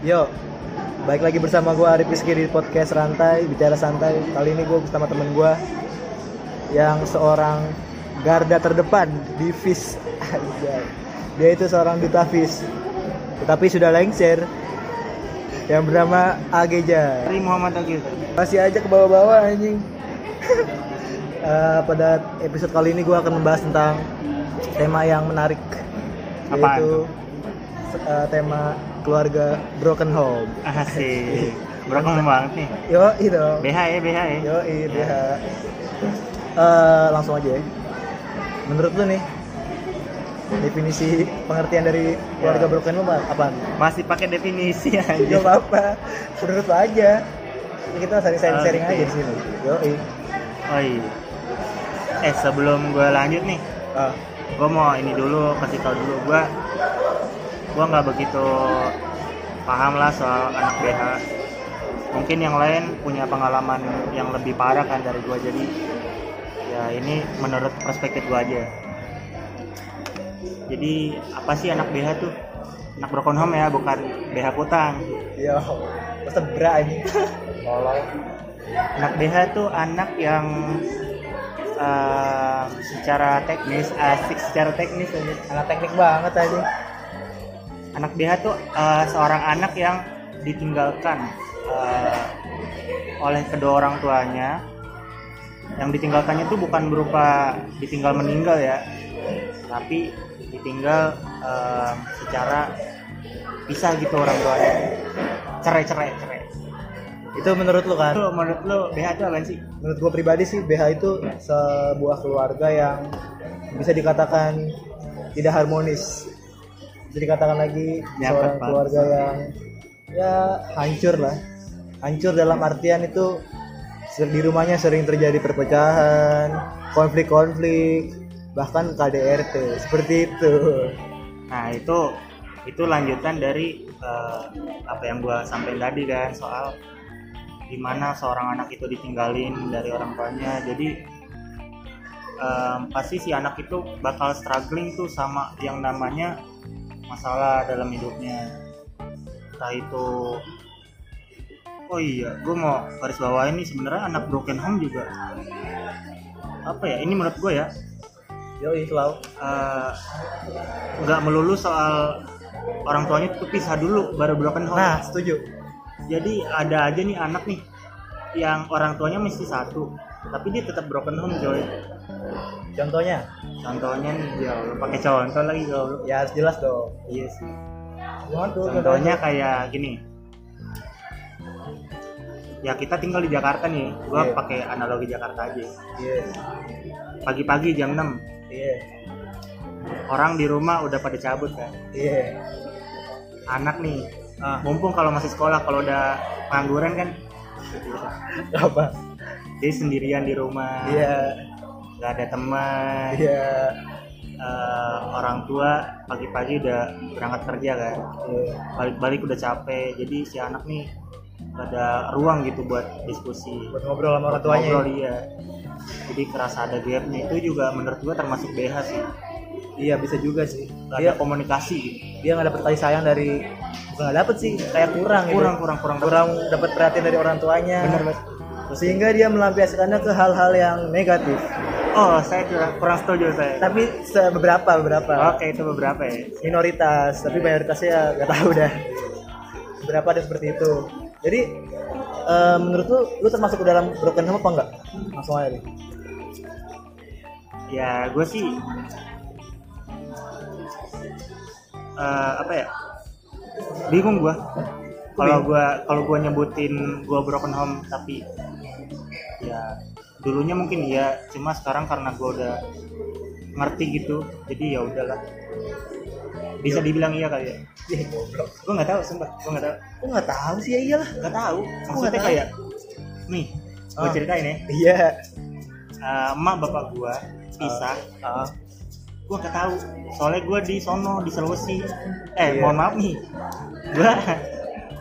Yo, baik lagi bersama gue Arif Rizky di podcast Rantai Bicara Santai. Kali ini gue bersama temen gue yang seorang garda terdepan di FIS. Anjay. Dia itu seorang duta FIS, tetapi sudah lengser yang bernama Ageja. Dari Muhammad Agil. Masih aja ke bawah-bawah anjing. Eh, pada episode kali ini gue akan membahas tentang tema yang menarik Apaan yaitu eh, tema keluarga broken home. Asik. Berokong banget nih. Yo itu. BH ya, BH ya. Yo iya. Eh langsung aja ya. Menurut lu nih definisi pengertian dari keluarga Ya. broken home apaan? Masih pakai definisi Gak aja. apa-apa. Menurut lu aja. Ini Kita sharing sharing Oke. aja di sini. Yo Oh iya. Eh sebelum gue lanjut nih, Ah, gue mau ini dulu kasih tau dulu gue gue nggak begitu paham lah soal anak BH mungkin yang lain punya pengalaman yang lebih parah kan dari gue jadi ya ini menurut perspektif gue aja jadi apa sih anak BH tuh anak broken home ya bukan BH kutang yo. Masa berani. anak BH tuh anak yang eh, secara teknis asik secara teknis aja Anak teknik banget aja. anak BH tuh eh, seorang anak yang ditinggalkan eh, oleh kedua orang tuanya yang ditinggalkannya itu bukan berupa ditinggal meninggal ya tapi ditinggal eh, secara pisah gitu orang tuanya cerai cerai cerai Itu menurut lu kan? itu menurut lo BH itu apa sih menurut gue pribadi sih BH itu sebuah keluarga yang bisa dikatakan tidak harmonis bisa dikatakan lagi Ya, seorang tepat. keluarga yang ya hancur lah hancur dalam artian itu ser- di rumahnya sering terjadi perpecahan konflik-konflik bahkan KDRT seperti itu Nah itu itu lanjutan dari eh, apa yang gua sampaikan tadi kan soal gimana seorang anak itu ditinggalin dari orang tuanya. Jadi em, pasti si anak itu bakal struggling tuh sama yang namanya masalah dalam hidupnya. Entah itu Oh iya, gue mau garis bawah ini sebenarnya anak broken home juga apa ya? Ini menurut gue ya, yo itu lah eh, nggak melulu soal orang tuanya tuh pisah dulu baru broken home. nah setuju Jadi ada aja nih anak nih yang orang tuanya mesti satu, tapi dia tetap broken home coy. contohnya Contohnya nih ya Allah, pakai contoh lagi ya Allah. ya harus jelas dong Iya sih. Gimana tuh Contohnya kayak gini. Ya kita tinggal di Jakarta nih. Gua Iya. pakai analogi Jakarta aja. yes Pagi-pagi jam 6 iya orang di rumah udah pada cabut kan. iya Anak nih Eh, ah mumpung kalau masih sekolah kalau udah pengangguran kan apa jadi sendirian di rumah iya nggak ada teman iya Eh, orang tua pagi-pagi udah berangkat kerja kan iya. balik-balik udah capek jadi si anak nih nggak ada ruang gitu buat diskusi buat ngobrol sama orang tuanya ngobrol dia jadi kerasa ada gapnya itu juga menurut gua termasuk BH sih iya bisa juga sih nggak dia ada komunikasi gitu. dia nggak dapet kasih sayang dari bukan nggak dapet sih kayak kurang gitu. kurang kurang kurang kurang dapet perhatian dari orang tuanya bener Mas. sehingga dia melampiaskannya ke hal-hal yang negatif oh saya kurang, kurang setuju saya tapi se- beberapa beberapa oke itu beberapa ya minoritas tapi mayoritasnya ya nggak tahu dah berapa ada seperti itu jadi eh, menurut lu lu termasuk ke dalam broken home apa enggak langsung aja deh ya gue sih eh, apa ya bingung gue kalau gue kalau gue nyebutin gue broken home tapi ya dulunya mungkin iya cuma sekarang karena gue udah ngerti gitu jadi ya udahlah bisa dibilang iya kali ya Ih, goblok gue nggak tahu sumpah gue nggak tahu Gua nggak tahu sih ya iyalah nggak tahu nggak maksudnya tahu. kayak nih gue Ah. ceritain ya iya Eh, emak bapak gue pisah Ah. gue nggak tahu soalnya gue di sono di Sulawesi eh Iya. mohon maaf nih gue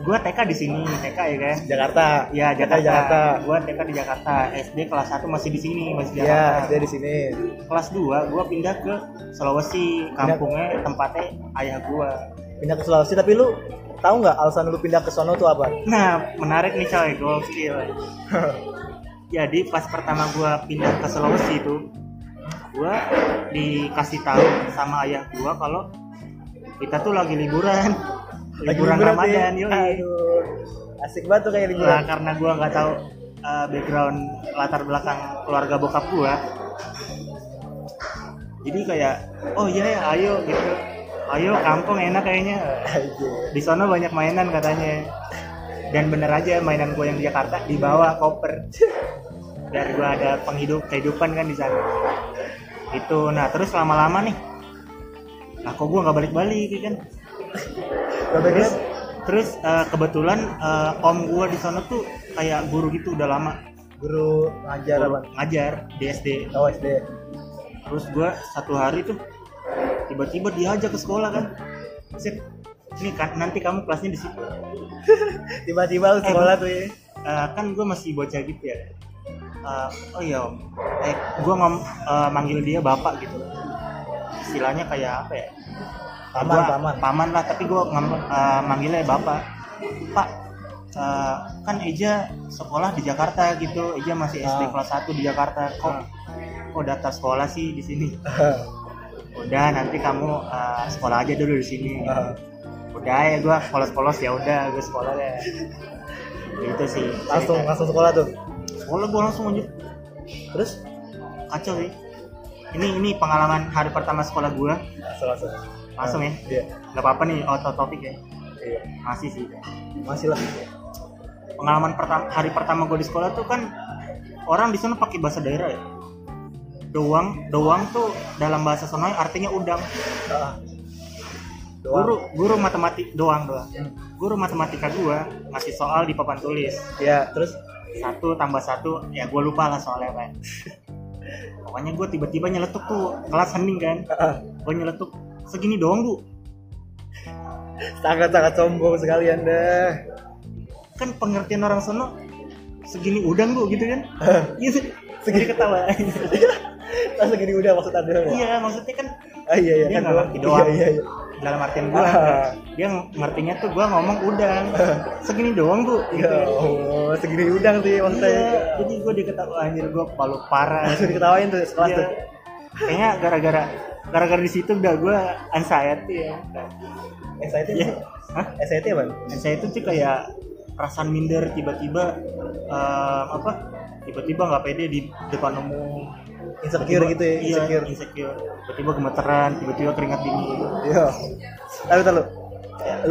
gue TK di sini TK ya kan Jakarta. ya Kita Jakarta, Jakarta. gue TK di Jakarta SD kelas 1 masih di sini masih di Iya, Jakarta dia di sini. kelas 2 gue pindah ke Sulawesi kampungnya tempatnya ayah gue Pindah ke Sulawesi tapi lu tahu nggak alasan lu pindah ke sono tuh apa? Nah, menarik nih coy, gokil. Jadi pas pertama gua pindah ke Sulawesi itu, gua dikasih tahu sama ayah gua kalau kita tuh lagi liburan. Liburan liburan, Ramadan, Din. yoi. Aduh, asik banget tuh kayak Nah, liburan. karena gua nggak tahu uh, background latar belakang keluarga bokap gua. Jadi kayak, oh iya ya, ayo gitu. Ayo kampung enak kayaknya. Aduh. di sana banyak mainan katanya dan bener aja mainan gue yang di Jakarta dibawa koper biar gue ada penghidup kehidupan kan di sana itu nah terus lama-lama nih nah kok gue nggak balik-balik ya kan Kata terus terus eh, kebetulan eh, om gue di sana tuh kayak guru gitu udah lama guru ngajar apa? ngajar di SD Oh SD. terus gue satu hari tuh tiba-tiba diajak ke sekolah kan Sip, ini kan nanti kamu kelasnya di situ Tiba-tiba lu sekolah tuh ya. Eh, kan gue masih bocah gitu ya Eh, oh iya om eh, gue ngom eh, manggil dia bapak gitu istilahnya kayak apa ya Paman, Gua- paman. lah tapi gue manggilnya bapak pak eh, kan Eja sekolah di Jakarta gitu Eja masih SD Ah. kelas 1 di Jakarta kok Ah. kok daftar sekolah sih di sini udah nanti kamu eh, sekolah aja dulu di sini Ah. udah ya gue polos-polos ya udah gue sekolah deh itu sih langsung cerita. langsung sekolah tuh. Sekolah gue langsung lanjut Terus kacau sih. Ini ini pengalaman hari pertama sekolah gue langsung langsung. langsung ya. Iya. Gak apa-apa nih out of topic ya. Iya. Masih sih. Masih lah. Pengalaman pertama hari pertama gue di sekolah tuh kan orang di sana pakai bahasa daerah ya. Doang doang tuh dalam bahasa Sonoy artinya udang. Ah. Doang. Guru guru matematik doang doang. Hmm. Guru matematika gue ngasih soal di papan tulis. Iya, terus satu tambah satu ya gue lupa lah soalnya kan pokoknya gue tiba-tiba nyeletuk tuh kelas hening kan ah, gue nyeletuk segini doang bu sangat-sangat sombong sekali Anda. kan pengertian orang sono segini udang bu gitu kan Eh, iya segini ketawa Iya. Langsung gini udah maksud Anda. iya maksudnya kan Ah, iya iya Dia kan nggak doang. ngerti doang. Iya iya. iya. dalam artian gue Ah. Eh. dia ngertinya tuh gue ngomong udang segini doang bu gitu kan. Ya Allah, segini udang sih maksudnya. Iya, jadi gue diketawa anjir gue palu parah Langsung diketawain tuh sekelas Iya. tuh. kayaknya gara-gara gara-gara di situ udah gue anxiety ya SIT. Iya. Hah? SIT apa? Dan Nah, saya itu tuh kayak perasaan minder tiba-tiba eh, apa tiba-tiba nggak pede di depan umum Insecure gitu ya, Iya, insecure. insecure. tiba-tiba gemeteran tiba-tiba keringat dingin Iya. Lalu tahu.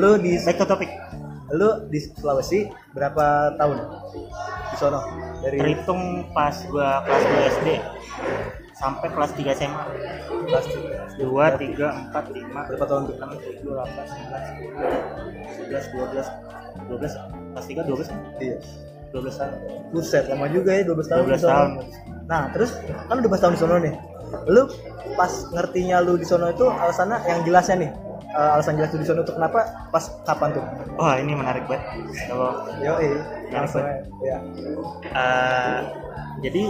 Lu di back to topic lu di Sulawesi berapa tahun? Di sono dari terhitung pas gua kelas 2 SD sampai kelas 3 SMA kelas 2, 3, 4, 5, berapa tahun tuh? 6, 7, 8, 9, 10, 11, 12 12 kelas 3, 12 kan? Iya. 12 tahun Buset, lama juga ya 12 tahun 12 di sono. tahun Nah, terus kan lu 12 tahun di sono nih. Lu pas ngertinya lu di sono itu alasannya yang jelasnya nih. eh, alasan jelas lu di sono tuh kenapa pas kapan tuh? wah ini menarik banget kalau Yo, iya. Langsung. Ya. Eh, jadi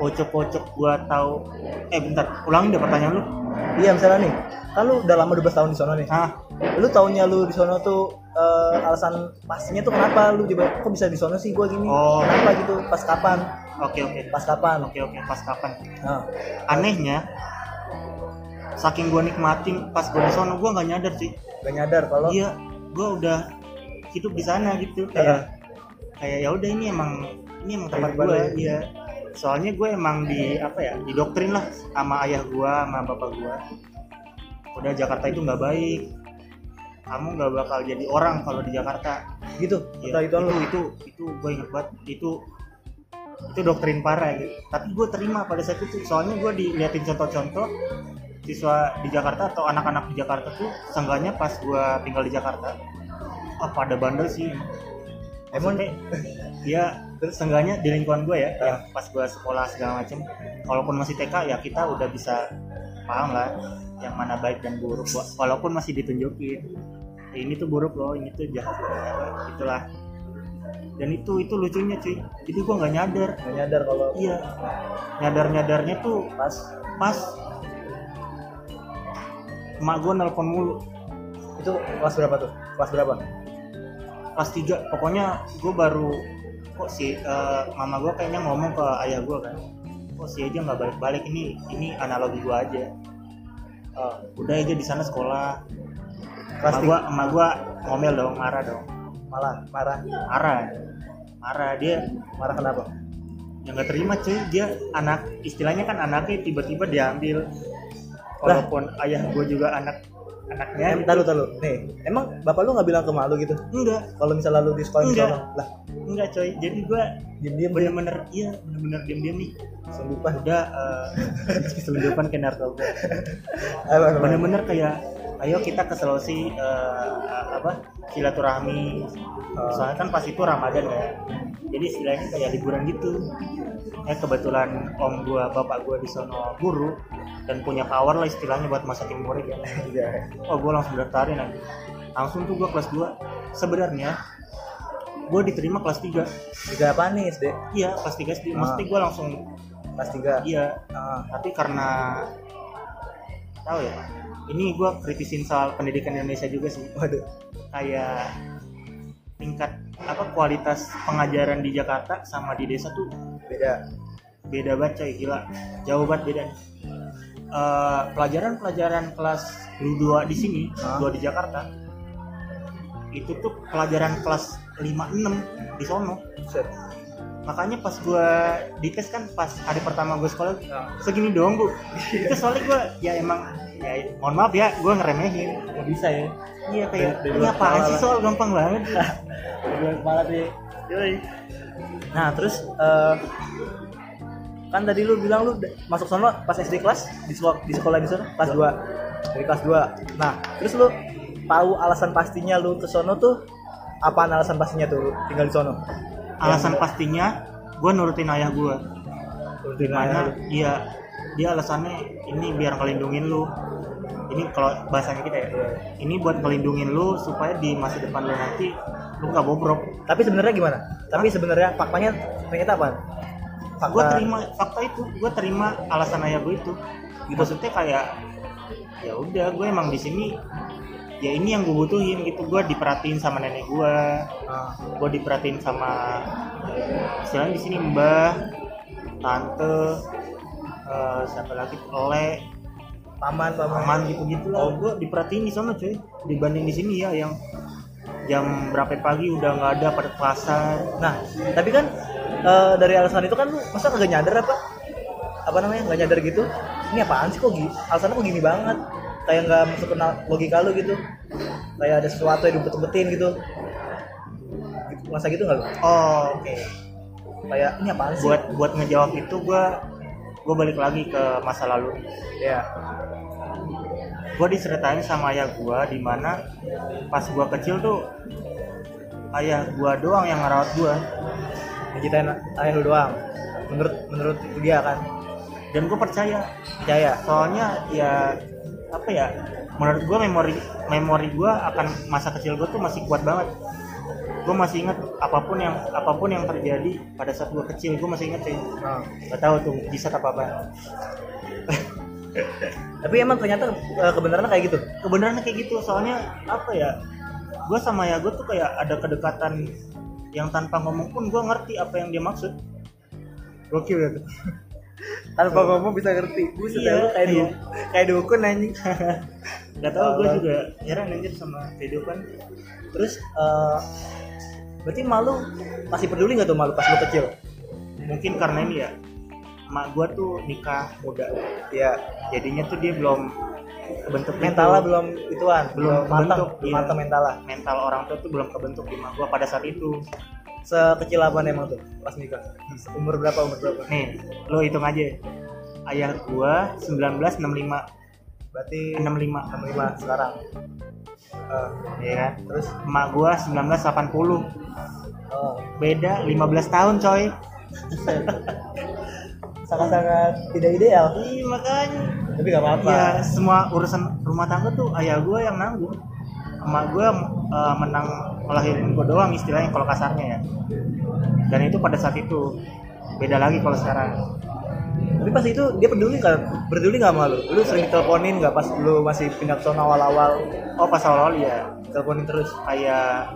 pocok-pocok gua tahu eh bentar ulangi deh pertanyaan lu Iya, misalnya nih. Kan lu udah lama 12 tahun di sono nih. ah Lu taunya lu di sono tuh eh, alasan pastinya tuh kenapa lu tiba kok bisa di sono sih gua gini? Oh. Kenapa gitu? Pas kapan? oke oke Pas kapan? oke oke pas kapan Nah, anehnya saking gua nikmatin pas gua di sono gua nggak nyadar sih gak nyadar kalau Eh, iya gua udah hidup di sana gitu Heeh. kayak kayak ya udah ini emang ini emang tempat Kehidupan gua lu ya. iya soalnya gue emang di apa ya didoktrin lah sama ayah gua sama bapak gua udah Jakarta itu nggak baik kamu nggak bakal jadi orang kalau di Jakarta gitu. Iya, Kata itu, itu lu. itu itu gue inget banget itu itu doktrin parah gitu. Tapi gue terima pada saat itu soalnya gue diliatin contoh-contoh siswa di Jakarta atau anak-anak di Jakarta tuh seenggaknya pas gue tinggal di Jakarta apa ada bandel sih Emang Maksudnya, ya terus seenggaknya di lingkungan gue ya Ah. yang pas gue sekolah segala macem walaupun masih TK ya kita udah bisa paham lah yang mana baik dan buruk Wa- walaupun masih ditunjukin ini tuh buruk loh ini tuh jahat loh apa, itulah dan itu itu lucunya cuy jadi gue nggak nyadar gak nyadar kalau iya nyadar nyadarnya tuh pas pas emak gue nelpon mulu itu kelas berapa tuh? kelas berapa kelas 3 pokoknya gue baru kok si eh, mama gue kayaknya ngomong ke ayah gue kan kok si aja nggak balik balik ini ini analogi gue aja Eh, udah aja di sana sekolah kelas emak tiga gue emak gue ngomel dong marah dong malah marah Iya. marah marah dia marah kenapa yang nggak terima cuy dia anak istilahnya kan anaknya tiba-tiba diambil Lah. Iya. walaupun ayah gue juga anak anaknya em taruh taruh nih emang bapak lu nggak bilang ke malu gitu enggak kalau misalnya lu di sekolah Enggak. misalnya lah enggak coy jadi gue diem diem dia bener-bener iya bener-bener diam-diam nih selundupan udah eh, selundupan ke narkoba apa namanya bener-bener kayak ayo kita ke Sulawesi eh, apa silaturahmi Oh. soalnya kan pas itu Ramadan ya jadi istilahnya kayak liburan gitu eh kebetulan om gua bapak gua di sono guru dan punya power lah istilahnya buat masakin murid ya Iya. oh gue langsung daftarin aja langsung tuh gue kelas 2 sebenarnya gue diterima kelas 3 tiga apa nih SD iya kelas 3 SD mesti Ah. gue langsung kelas tiga iya Ah, tapi karena tahu ya ini gue kritisin soal pendidikan Indonesia juga sih waduh kayak tingkat apa kualitas pengajaran di Jakarta sama di desa tuh beda beda banget coy gila jauh banget beda nih. Eh, pelajaran-pelajaran kelas lu dua di sini Hah? dua di Jakarta itu tuh pelajaran kelas 5-6 di sono set makanya pas gua dites kan pas hari pertama gua sekolah Ah. segini doang bu itu soalnya gua ya emang ya mohon maaf ya gua ngeremehin nggak bisa ya iya kayak Dari- dari ini luar apaan kepala sih lah." soal gampang banget bilang kepala tuh ya. Yoi. nah terus eh, kan tadi lu bilang lu da- masuk sono pas SD kelas di sekolah di sekolah di sono kelas 2 dari kelas 2 nah terus lu tahu alasan pastinya lu ke sono tuh apaan alasan pastinya tuh lu tinggal di sono alasan pastinya gua nurutin ayah gua Lu tinggal di dimana iya dia alasannya ini biar ngelindungin lu ini kalau bahasanya kita ya sono. ini buat ngelindungin lu supaya di masa depan lu nanti lu nggak bobrok tapi sebenarnya gimana tapi sebenarnya faktanya ternyata apaan fakta gue terima fakta itu gue terima alasan ayah gue itu maksudnya kayak ya udah gue emang di sini ya ini yang gue butuhin gitu gue diperhatiin sama nenek gue Ah, gue diperhatiin sama istilahnya di sini mbah tante eh, siapa lagi oleh paman paman aman gitu gitu lah. Oh. gue diperhatiin di sana cuy dibanding di sini ya yang jam berapa pagi udah nggak ada pada pasar nah tapi kan eh, dari alasan itu kan lu masa kagak nyadar apa apa namanya nggak nyadar gitu ini apaan sih kok gini alasannya kok gini banget kayak nggak masuk ke na- logika lu gitu kayak ada sesuatu yang dibet-betin gitu Gitu, masa gitu nggak lu oh oke kayak ini apaan sih buat buat ngejawab itu gue gue balik lagi ke masa lalu ya gue diceritain sama ayah gue di mana pas gue kecil tuh ayah gue doang yang ngerawat gue digitain ayah lu doang menurut menurut dia kan dan gue percaya percaya soalnya ya apa ya menurut gue memori memori gue akan masa kecil gue tuh masih kuat banget gue masih ingat apapun yang apapun yang terjadi pada saat gue kecil gue masih ingat sih Ah. gak tahu tuh bisa apa apa tapi emang ternyata eh, kebenarannya kayak gitu kebenarannya kayak gitu soalnya apa ya gue sama ya gue tuh kayak ada kedekatan yang tanpa ngomong pun gue ngerti apa yang dia maksud gokil ya tuh tanpa ngomong bisa ngerti gue Iya, kayak iya. du- kayak dukun anjing gak tau gue juga heran anjir sama kehidupan terus eh, berarti malu masih peduli nggak tuh malu pas lu kecil mungkin karena ini ya mak gue tuh nikah muda ya jadinya tuh dia belum kebentuk mentalnya gitu. belum ituan Belum matang kebentuk, belum iya. matang mentalnya mental orang tua tuh belum kebentuk di mak gue pada saat itu sekecil apa emang tuh pas nikah umur berapa umur berapa nih lo hitung aja ayah gue 1965 berarti 65 65 sekarang Eh, ya kan terus emak gua 1980 oh, beda 15 tahun coy sangat-sangat tidak ideal Iya. iya makanya tapi nggak apa-apa ya semua urusan rumah tangga tuh ayah gua yang nanggung emak gua eh, menang ngelahirin gua doang istilahnya kalau kasarnya ya dan itu pada saat itu beda lagi kalau sekarang tapi pas itu dia peduli nggak peduli nggak malu lu sering teleponin nggak pas lu masih pindah ke sana awal-awal oh pas awal-awal ya teleponin terus ayah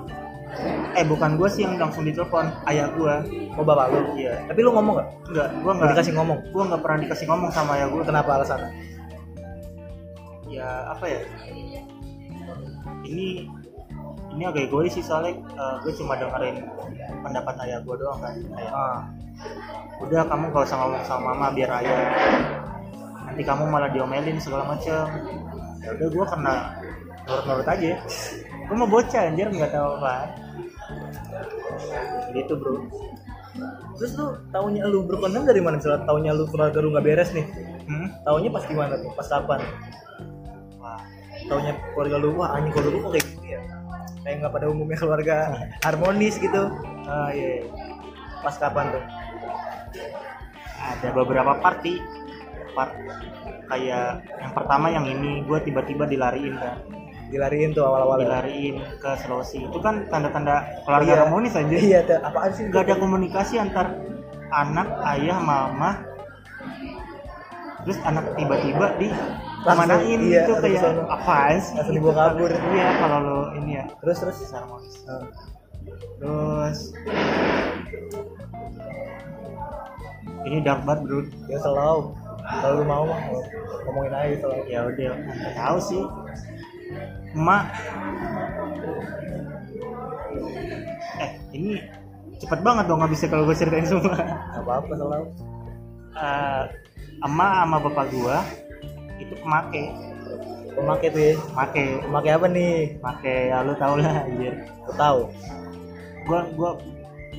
eh bukan gue sih yang langsung ditelepon ayah gue mau bapak lu iya tapi lu ngomong nggak enggak gue Nggak enggak dikasih ngomong gue nggak pernah dikasih ngomong sama ayah gue kenapa alasannya ya apa ya ini ini agak egois sih soalnya eh, gue cuma dengerin pendapat ayah gue doang kan kayak "Ah, udah kamu gak usah ngomong sama mama biar ayah nanti kamu malah diomelin segala macem ya udah gue kena nurut-nurut aja gue mau bocah anjir nggak tahu apa gitu bro terus lu taunya lu berkondom dari mana misalnya taunya lu keluarga lu nggak beres nih hmm? taunya pas gimana tuh pas kapan wah taunya keluarga lu wah anjing keluarga lu kok kayak gini ya kayak nggak pada umumnya keluarga harmonis gitu ah, iya, iya. pas kapan tuh ada beberapa party part kayak yang pertama yang ini gue tiba-tiba dilariin kan dilariin tuh awal-awal ya? dilariin ke Sulawesi itu kan tanda-tanda keluarga Iya. harmonis aja iya tuh apaan sih nggak ada komunikasi antar anak ayah mama terus anak tiba-tiba di Langsung, kemanain iya, itu langsung kayak kesana. apaan sih Langsung gitu. dibawa kabur. iya kalau lo ini ya terus terus sisa harmonis Nah, terus ini dark banget bro ya selalu kalau lu mau mah ngomongin aja selalu ya udah nggak tahu sih emak eh ini cepet banget dong habisnya kalau gue ceritain semua nggak apa-apa selalu Eh, emak sama bapak gua itu pemake pemakai tuh ya pemake pemakai apa nih pemake ya lu tau lah anjir lu tahu gua gua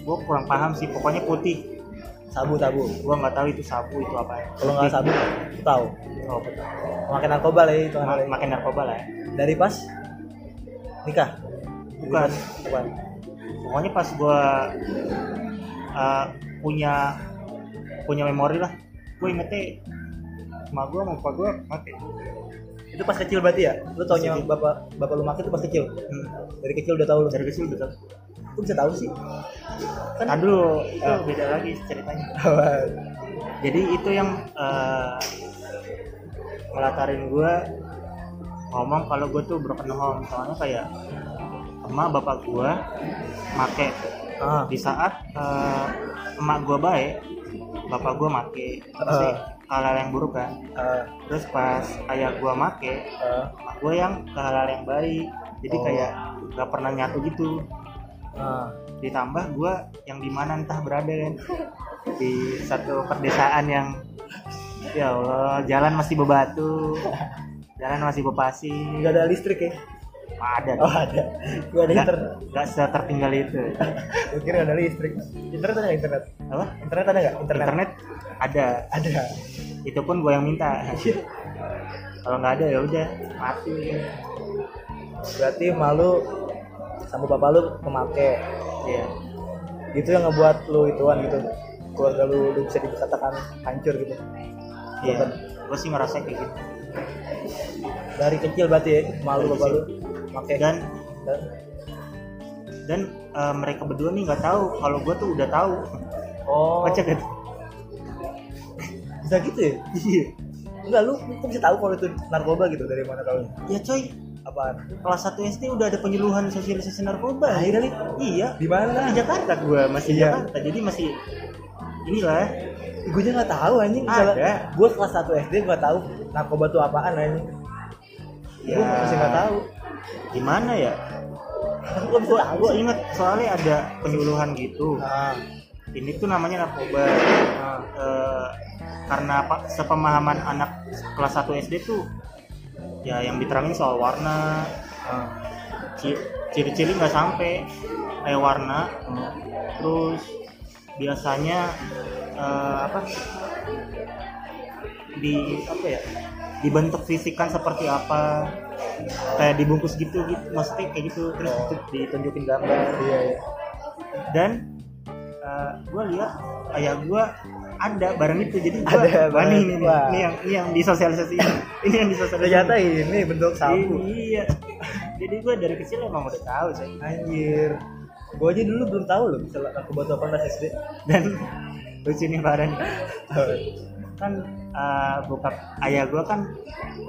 gua kurang paham sih pokoknya putih sabu sabu gua nggak tahu itu sabu itu apa kalau nggak sabu lu tahu oh, betul. pemakai narkoba lah ya itu Ma- make narkoba lah ya. dari pas nikah Dari Bukan. pas kapan? pokoknya pas gua eh, punya punya memori lah gue ingetnya sama gua sama bapak gua ya. pakai itu pas kecil berarti ya lu taunya Kecil. bapak bapak lu makan itu pas kecil hmm. dari kecil udah tahu lu dari kecil udah tau lu bisa tahu sih kan dulu itu beda lagi ceritanya Ah. jadi itu yang eh, melatarin gue ngomong kalau gue tuh broken home soalnya kayak emak bapak gue make ah di saat eh, emak gue baik bapak gue make pasti Ah. hal yang buruk kan ah, terus pas ayah gue make ah, emak gue yang ke hal yang baik jadi Oh. kayak gak pernah nyatu gitu ah. ditambah gue yang di mana entah berada kan di satu perdesaan yang ya Allah jalan masih bebatu jalan masih bepasir nggak ada listrik ya ada oh ada gua ada nggak internet nggak setertinggal itu gua kira nggak ada listrik internet ada nggak internet apa internet ada nggak internet, internet ada ada itu pun gue yang minta kalau nggak ada ya udah mati berarti malu sama bapak lu memakai ya itu yang ngebuat lu ituan gitu keluarga lu, lu bisa dikatakan hancur gitu ya gue sih ngerasa kayak gitu dari kecil berarti ya malu Dari bapak lu kecil. pakai dan dan dan eh, mereka berdua nih nggak tahu kalau gue tuh udah tahu oh kocak kan bisa gitu ya iya enggak lu kok bisa tahu kalau itu narkoba gitu dari mana tahu ya coy apaan kelas 1 SD udah ada penyuluhan sosialisasi narkoba Akhirnya nih iya di mana di Jakarta gua masih Iya. Jakarta jadi masih inilah ya. gue aja nggak tahu anjing Ada. gue kelas 1 SD gue tahu narkoba tuh apaan anjing Ya. gue masih nggak tahu gimana ya gue bisa gua, tahu gua sih inget soalnya ada penyuluhan gitu ah, ini tuh namanya narkoba ah, Eh, karena apa sepemahaman anak kelas 1 SD tuh ya yang diterangin soal warna Eh, ah. ci- ciri-ciri nggak sampai kayak warna eh, terus biasanya eh, apa di apa ya dibentuk fisikan seperti apa kayak dibungkus gitu gitu maksudnya kayak gitu terus itu ditunjukin gambar iya iya dan gue lihat ayah gue ada barang itu jadi gue Ada barang ini, itu, ini, Pak." ini yang ini yang disosialisasi ini yang disosialisasi ternyata ini bentuk sabu iya jadi gue dari kecil emang udah tahu sih anjir gue aja dulu belum tahu loh misalnya narkoba tuh apaan pas SD dan lucu nih barang kan eh, bokap ayah gue kan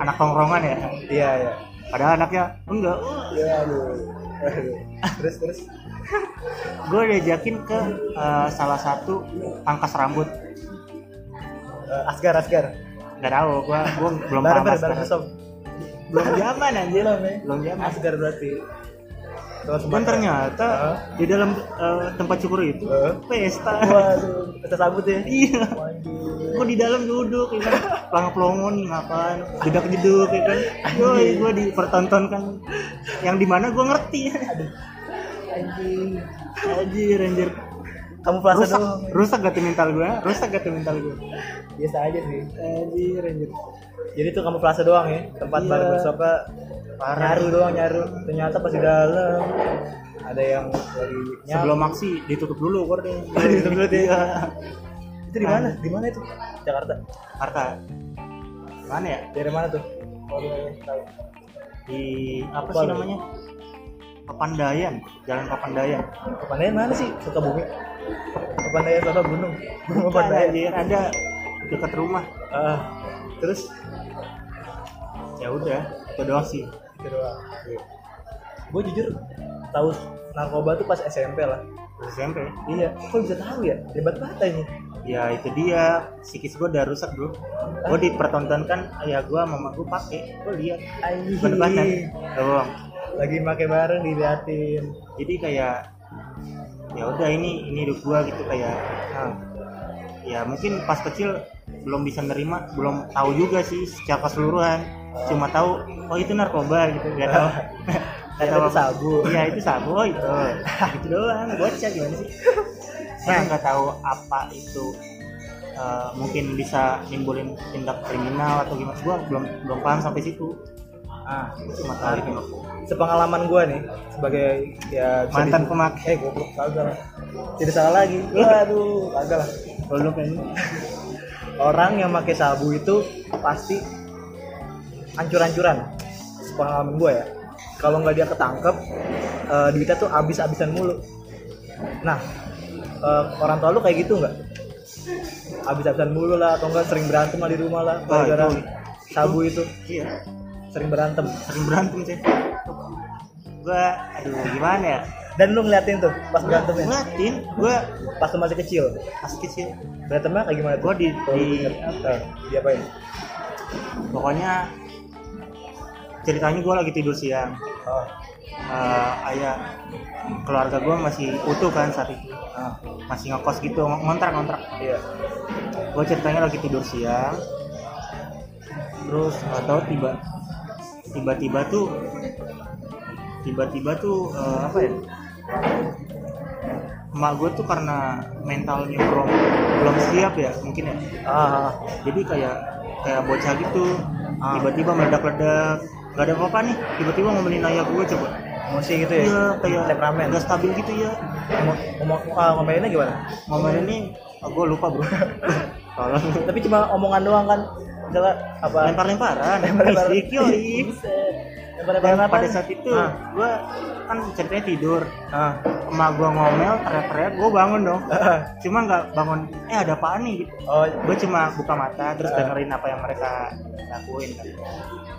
anak tongkrongan ya iya iya padahal anaknya enggak ya aduh. Aduh. terus terus gue diajakin ke eh, salah satu pangkas rambut Eh, asgar asgar nggak tahu gue gue belum paham barber sekarang. barber shop belum zaman anjir Belum, ya? belum zaman asgar berarti Terus dan ternyata Heeh. di dalam eh, tempat cukur itu Heeh. pesta waduh kita sambut ya iya Waduh. gue di dalam duduk ya kan pelang pelongo nih ngapain jedak jeduk ya kan yoi gue dipertontonkan yang dimana gue ngerti Anjing. anjir anjir kamu puasa rusak doang ya. rusak gak tuh mental gue rusak gak tuh mental gue biasa aja sih anjir anjir jadi tuh kamu plaza doang ya tempat Iya. barber shopnya nyaru doang nyaru ternyata pas di dalam ada yang lagi nyaru sebelum aksi ditutup dulu gorden Ditutup dulu, deh. Iya. itu di Ah. mana di mana itu Jakarta Harta mana ya dari mana tuh Kalau boleh tahu. di apa Lupa sih lu. namanya Papandayan Jalan Papandayan Kepandayan mana sih? Sukabumi. Kepandayan apa gunung? Kepandayan. Papandayan Iya, ada dekat rumah Ah, terus ya udah itu doang sih itu doang. Gue jujur tahu narkoba tuh pas SMP lah. Terus SMP Iya, kok bisa tahu ya? Hebat banget ini. ya itu dia psikis gue udah rusak bro gue dipertontonkan ya ayah gue mama gue pakai gue lihat Anjing. bener-bener Gak bohong Lagi pakai bareng diliatin. jadi kayak ya udah ini ini hidup gue gitu kayak Ah, ya mungkin pas kecil belum bisa nerima belum tahu juga sih secara keseluruhan cuma tahu oh itu narkoba gitu nggak tahu Nggak Ternyata itu apa. sabu. iya itu sabu oh itu Ah. gitu doang bocah gimana sih saya nggak tahu apa itu eh, mungkin bisa nimbulin tindak kriminal atau gimana gua belum belum paham sampai situ ah. cuma tahu itu Sepengalaman gue nih sebagai ya bisa mantan disebut- pemakai Eh, goblok kagak lah. Tidak salah lagi. Waduh, kagak lah. belum kayaknya orang yang pakai sabu itu pasti ancur-ancuran pengalaman gue ya kalau nggak dia ketangkep eh, duitnya tuh abis-abisan mulu nah eh, orang tua lu kayak gitu nggak abis-abisan mulu lah atau enggak sering berantem lah di rumah lah Wah, gara-gara Ah, itu- sabu itu iya sering berantem sering berantem sih gua aduh gimana ya dan lu ngeliatin tuh pas berantemnya ngeliatin gua pas lu masih kecil pas kecil berantemnya kayak gimana tuh Gua di- Kalau lu di- inget, eh, diapain pokoknya ceritanya gue lagi tidur siang oh, Eh, ayah keluarga gue masih utuh kan saat itu ah, masih ngekos gitu ngontrak ngontrak iya gue ceritanya lagi tidur siang terus nggak tahu tiba tiba-tiba tuh tiba-tiba tuh eh, apa ya emak gue tuh karena mentalnya belum belum siap ya mungkin ya ah, ah, jadi kayak kayak bocah gitu Ah. tiba-tiba meledak-ledak gak ada apa-apa nih tiba-tiba ngomelin ayah gue coba emosi gitu ya iya kayak temperamen gak stabil gitu ya Ngom- ngomong ah, ngomelinnya gimana? ngomelin ini oh, gue lupa bro tolong Tapi cuma omongan doang kan. Misalnya apa? lempar-lemparan Lempar-lemparan. fisik yoi Buset. Lempar-lempar dan apa? pada saat itu Ah. gue kan ceritanya tidur Ah. emak gue ngomel teriak-teriak gue bangun dong cuma nggak bangun eh ada apaan nih gitu Oh, gue cuma buka mata terus Ah. dengerin apa yang mereka lakuin kan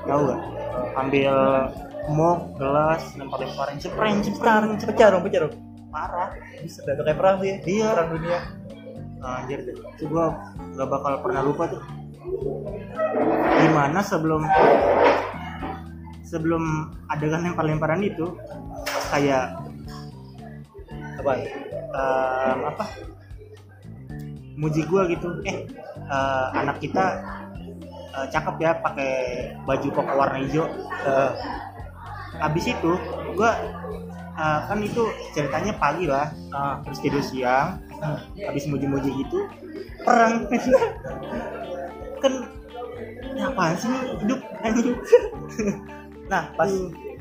tahu gak ambil mug gelas lempar lemparin cepren pecah, cepren cepren pecah dong, pecah dong. parah Buset, dah, itu kayak perang sih. ya. Iya. Perang dunia. Ah, anjir deh itu gue gak bakal pernah lupa tuh gimana sebelum sebelum adegan lempar lemparan itu kayak Apa? Iya. em, apa muji gua gitu eh eh, anak kita eh, cakep ya pakai baju koko warna hijau Eh, habis itu gua eh, kan itu ceritanya pagi lah ah. terus tidur siang Ah. habis muji-muji gitu perang kan ya apaan sih ini hidup anjing Nah, pas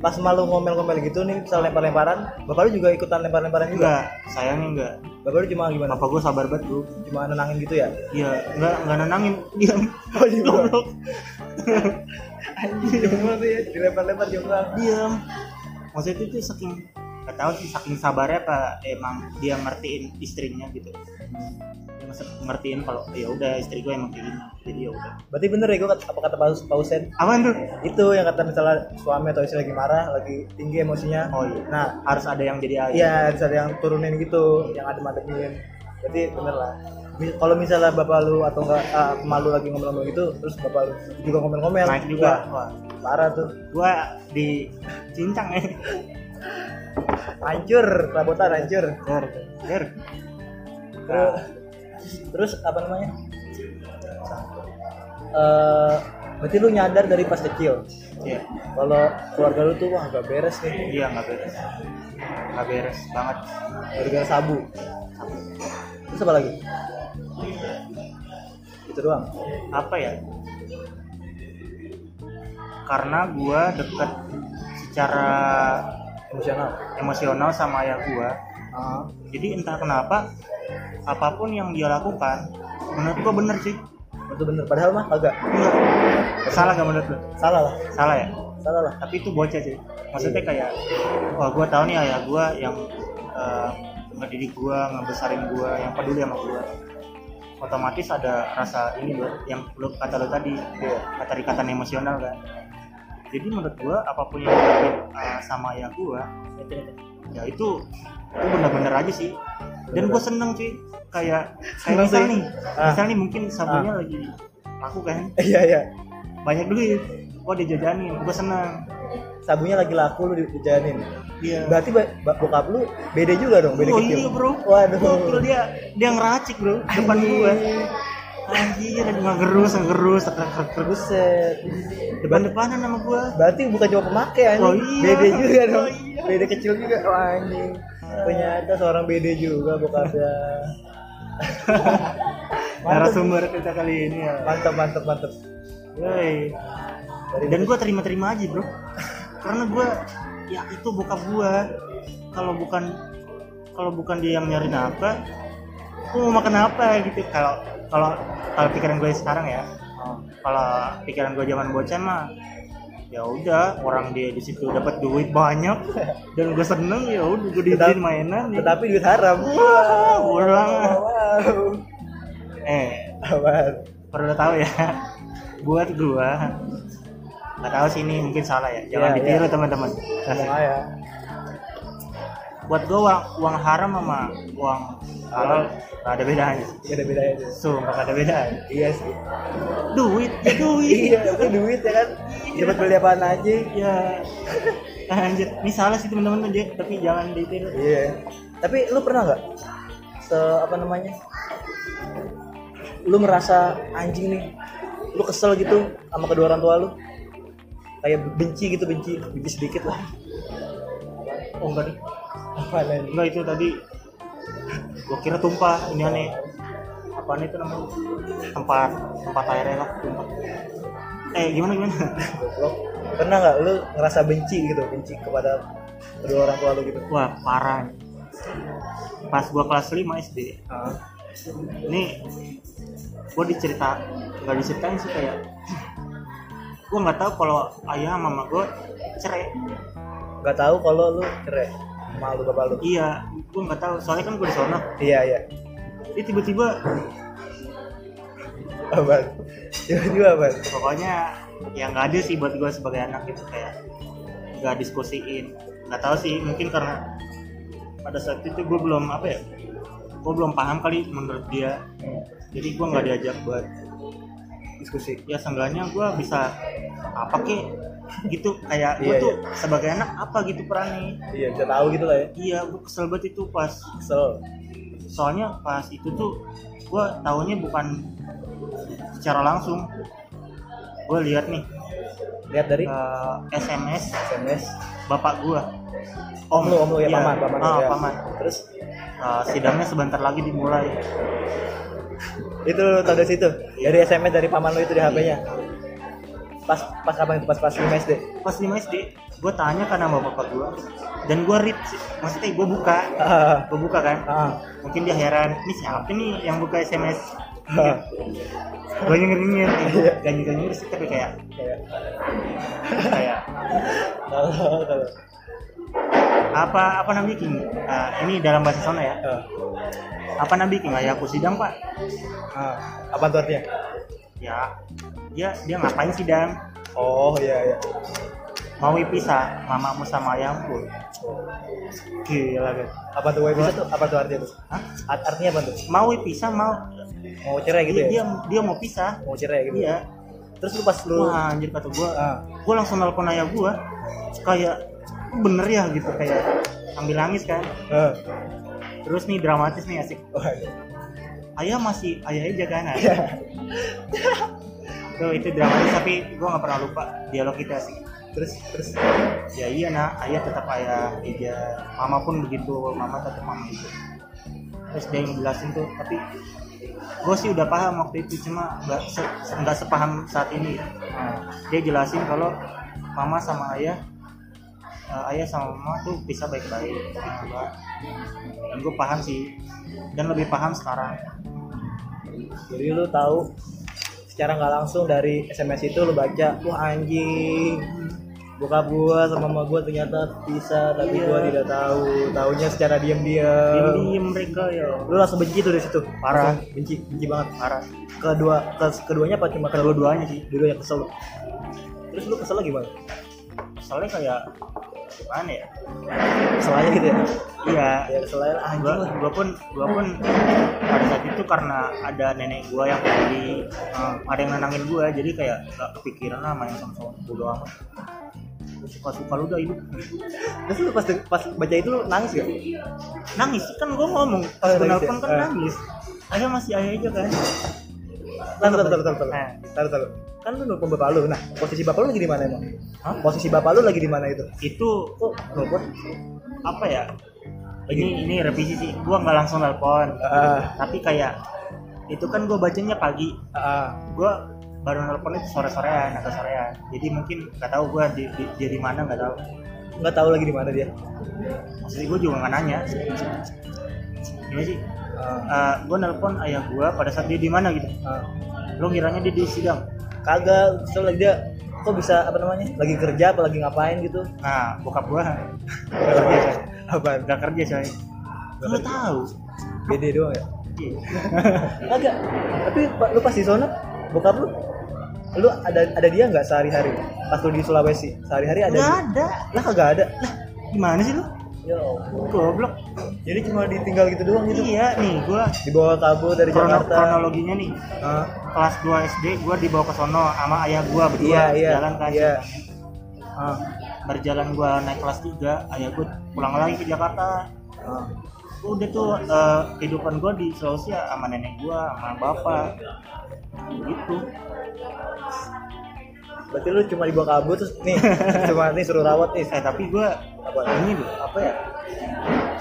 pas malu ngomel-ngomel gitu nih, misal lempar-lemparan, bapak lu juga ikutan lempar-lemparan juga. enggak sayangnya enggak Bapak lu cuma gimana? bapak gua sabar banget bro Cuma nenangin gitu ya. Iya, nggak nggak nenangin diam Oh, iya. Goblok. Anjir, cuma tuh ya, dilempar-lempar juga. diam maksudnya itu saking nggak tahu sih saking sabarnya apa emang dia ngertiin istrinya gitu yang se- ngertiin kalau ya udah istri gue emang kayak gini jadi ya udah Berarti bener ya gue kata, apa kata Paus Pausen? apaan tuh Itu yang kata misalnya suami atau istri lagi marah, lagi tinggi emosinya. oh iya Nah, harus ada yang jadi air Iya harus ada yang turunin gitu, yang ada mademin. Jadi bener lah. Mi- Kalau misalnya bapak lu atau enggak ah, emak lu lagi ngomel-ngomel gitu, terus bapak lu juga ngomel-ngomel. naik juga wah Wah, Parah tuh. gue di cincang ya Hancur, perabotan hancur. der der Terus, terus apa namanya? Eh, berarti lu nyadar dari pas kecil iya kalau keluarga lu tuh wah gak beres nih iya nggak beres nggak beres banget gara-gara sabu terus apa lagi itu doang apa ya karena gue deket secara emosional emosional sama ayah gue Ah. jadi entah kenapa apapun yang dia lakukan menurut gue bener sih Itu bener, padahal mah agak Bener. salah gak menurut lu salah lah, salah ya salah lah. tapi itu bocah sih maksudnya kayak wah gue tahu nih ayah gue yang eh, ngedidik gue ngebesarin gue yang peduli sama gue otomatis ada rasa ini loh yang lu kata lo tadi keterikatan emosional kan jadi menurut gue apapun yang dilakuin eh, sama ayah gue ya itu itu bener-bener aja sih dan gue seneng sih kayak kayak Seneng misal sih. nih Ah. misal nih mungkin sabunya lagi laku kan Iya iya. banyak duit gue dijajanin gue seneng Sabunya lagi laku lu di- dijajanin. iya Berarti ba- ba- bokap lu beda juga dong, beda oh kecil. iya bro Waduh. Gua- bro, dia dia ngeracik bro depan gue anjir ada ngerus ngerus ngerus Buset. depan depanan sama gue Berarti bukan cuma pemakai anjing. Oh iya. Beda juga dong. Oh iya. Ah. Beda kecil juga Wah, anjing. Ternyata seorang beda juga bokapnya. mantap, narasumber kita kali ini ya mantap, mantap, mantap. Yoi. Dari dan gue terima-terima aja bro karena gue ya itu bokap gue kalau bukan kalau bukan dia yang nyari nafkah gue mau makan apa gitu kalau kalau kalau pikiran gue sekarang ya kalau pikiran gue zaman bocah mah ya udah orang dia di situ dapat duit banyak dan gue seneng ya udah gue Tetap- diizin mainan ya. tetapi duit haram. Wah, orang Wow. eh Apaan? perlu tahu ya buat gue nggak tahu sih ini mungkin salah ya jangan Iya, ditiru iya. teman-teman Ngomong aja. buat gue uang, uang haram sama uang halal gak ada bedanya Beda-bedanya tuh. sumpah gak ada bedanya Iya sih. duit ya duit Iya, itu duit ya kan. Dapat beli apaan aja. ya anjir ini salah sih teman-teman tuh Jack tapi jangan ditiru Iya. Tapi lu pernah nggak se apa namanya? Lu merasa anjing nih. Lu kesel gitu sama kedua orang tua lu. Kayak benci gitu, benci, benci sedikit lah. oh enggak deh Apa lagi? enggak itu tadi gua kira tumpah ini aneh apaan itu namanya tempat tempat airnya lah tumpah eh gimana gimana Goblok. Pernah nggak lu ngerasa benci gitu, benci kepada kedua orang tua lu gitu? wah parah nih. pas gua kelas 5 SD ini gua dicerita nggak diceritain sih kayak gua nggak tahu kalau ayah sama mama gua cerai Nggak tahu kalau lu cerai sama lu bapak lu. iya gua nggak tahu soalnya kan gua di sana Iya, iya. ini tiba-tiba Abang. Tiba-tiba abang. pokoknya ya nggak ada sih buat gue sebagai anak gitu kayak nggak diskusiin nggak tahu sih mungkin karena pada saat itu gue belum apa ya gue belum paham kali menurut dia jadi gue nggak diajak buat Diskusi. ya seenggaknya gue bisa apa kek gitu kayak gue Iya, tuh sebagai anak apa gitu perannya Iya, bisa tahu gitu lah ya. iya gue kesel banget itu pas Kesel. soalnya pas itu tuh gue taunya bukan secara langsung gue lihat nih Lihat dari eh, SMS SMS bapak gua om lu om lu ya iya. paman paman Ah, lu ya. paman. terus Ah, sidangnya sebentar lagi dimulai itu lu tau dari situ dari SMS dari paman lu itu di HP-nya pas pas apa itu pas pas 5 SD pas 5 SD gua tanya kan sama bapak gua dan gua read sih. maksudnya gua buka ah gua buka kan ah mungkin dia heran ini siapa nih yang buka SMS Iya. ah. gua nyengir nyengir Iya. ganjil ganjil sih tapi kayak Kayak, kayak kalau kalau apa apa nabi king Eh, ini dalam bahasa sana ya Eh, apa nabi king ya aku sidang pak ah, apa tuh artinya? ya dia dia ngapain sidang Oh iya iya. mau pisah mamamu sama ayahku gila guys Apa tuh bisa tuh? Apa tuh artinya tuh? Hah? Art- artinya apa tuh? mau pisah mau Mau cerai gitu ya? dia, dia dia mau pisah Mau cerai gitu. iya Terus lu pas lu wah anjir kata gua ah, gue langsung nelpon ayah gue kayak bener ya gitu kayak sambil nangis kan eh, terus nih dramatis nih asik wah, iya. ayah masih ayah aja kan ayah. Tuh, itu dramatis tapi gue nggak pernah lupa dialog kita asik terus terus ya iya nak ayah tetap ayah aja mama pun begitu mama tetap mama gitu terus dia yang jelasin tuh tapi gue sih udah paham waktu itu cuma nggak se- nggak sepaham saat ini ah, Nah, dia jelasin kalau mama sama ayah eh, ayah sama mama tuh bisa baik-baik gitu kan. dan gue paham sih dan lebih paham sekarang jadi lu tahu secara nggak langsung dari SMS itu lu baca wah anjing buka gua sama mama gua ternyata bisa tapi Iya. gua tidak tahu taunya secara diam-diam diem mereka ya lu langsung benci tuh dari situ Parah. Langsung benci benci banget parah kedua ke- keduanya apa cuma kedua-duanya sih dua yang kesel lu. terus lu kesel lagi gimana soalnya kayak gimana ya kesel aja gitu ya iya ya kesel aja ah, anjing gua, lah gua pun gua pun pada saat itu karena ada nenek gua yang di eh, ada yang nenangin gua jadi kayak gak kepikiran lah main sama sama bodo amat suka suka lu dah hidup terus lu pas pas baca itu lu nangis gak nangis kan gua ngomong Oh, pas gua nangis nelpon ya? kan Eh. nangis ayah masih ayah aja kan Taruh, taruh, taruh, taruh, taruh. Eh. Taruh, taruh. Kan lu nelfon bapak lu. Nah, posisi bapak lu lagi di mana emang? Hah? Posisi bapak lu lagi di mana itu? itu Kok nelfon? apa ya ini ini revisi sih gua nggak langsung nelpon Ah, tapi kayak itu kan gua bacanya pagi ah, gua baru nelpon itu sore sorean atau sorean jadi mungkin nggak tahu gua di, di, dia di mana nggak tahu nggak tahu lagi di mana dia. maksudnya gua juga nggak nanya gimana sih Ah, Eh, gua nelpon ayah gua pada saat dia di mana gitu ah. lo ngiranya dia di sidang Kagak, kesel lagi dia. Kok bisa apa namanya? Lagi kerja apa lagi ngapain gitu? nah bokap gua nggak kerja coy. Apaan? nggak kerja coy nggak tahu Bede doang ya? Iya. Kagak. Tapi pa- lu pas di sana, bokap lu lu ada ada dia nggak sehari-hari pas lu di Sulawesi sehari-hari ada nggak dia? ada lah kagak ada gimana sih lo ya Allah. goblok jadi cuma ditinggal gitu doang gitu iya nih gua dibawa kabur dari krono- Jakarta Ah, kronologinya nih Hah? kelas 2 SD gua dibawa ke sono sama ayah gua Iya, berdua iya, jalan kan iya. Ah, berjalan gua naik kelas 3 ayah gua pulang lagi ke Jakarta Ah. udah tuh eh, kehidupan gua di Sulawesi ya, sama nenek gua sama bapak gitu Berarti lu cuma dibawa kabur terus nih, cuma nih suruh rawat nih. eh tapi gua Apa? ini loh apa ya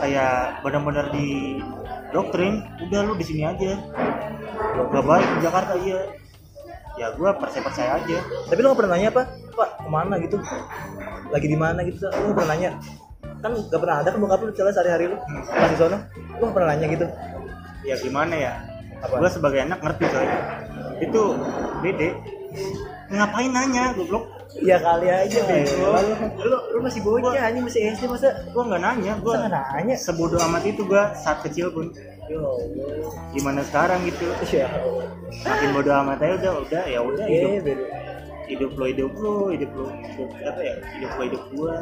kayak benar-benar di doktrin udah lu di sini aja gak balik ke Jakarta iya ya gua percaya percaya aja Tapi lu gak pernah nanya apa? Pak, kemana gitu? Lagi di mana gitu? Lu gak pernah nanya. Kan gak pernah ada kan bokap lu celah sehari-hari lu pas di sono. Lu gak pernah nanya gitu. ya gimana ya Apa? gue sebagai anak ngerti coy itu bede ngapain nanya goblok Ya kali aja bego. Bego. Lu lu masih bocah anjing masih SD masa gue nggak nanya gue masa gak nanya? sebodoh amat itu gue saat kecil pun Ya Allah. gimana sekarang gitu Ya Allah. makin bodoh amat aja udah udah ya udah hidup Eh, bego. hidup lo hidup lo hidup lo hidup apa ya hidup lo hidup gue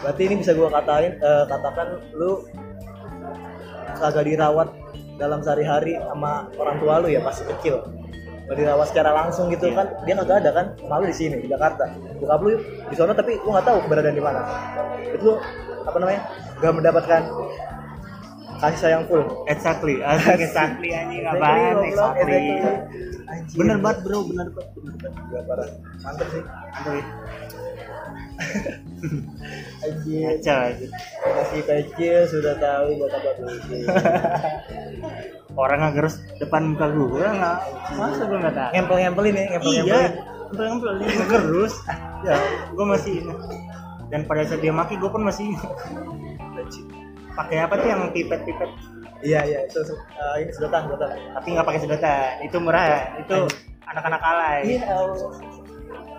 Berarti ini bisa gua katain eh, katakan lu kagak dirawat dalam sehari-hari sama orang tua lu ya pas kecil. Gak dirawat secara langsung gitu Iya. kan dia kagak ada kan malu di sini di Jakarta. Bokap lu di sana tapi lu nggak tahu keberadaan di mana. Itu lu, apa namanya? gak mendapatkan kasih sayang full. exactly asik exactly anjing apaan Exactly, goblok, exactly exactly. Anjir. bener banget bro bener banget bener banget. iya, Gila, parah. Mantep sih. Mantap ya. Anjir. Ngaco aja. Masih kecil sudah tahu buat apa dulu. orang nggak gerus depan muka gue nggak masa gue nggak tahu Ngempel-ngempelin ya, iya ngempel-ngempelin. ngempel-ngempel ini ngegerus ah, ya gue masih ingat dan pada saat dia maki gue pun masih ingat. pakai apa tuh yang pipet pipet Iya iya itu eh, ini sedotan sedotan. tapi nggak pakai sedotan itu murah itu anak-anak alay Iya Allah.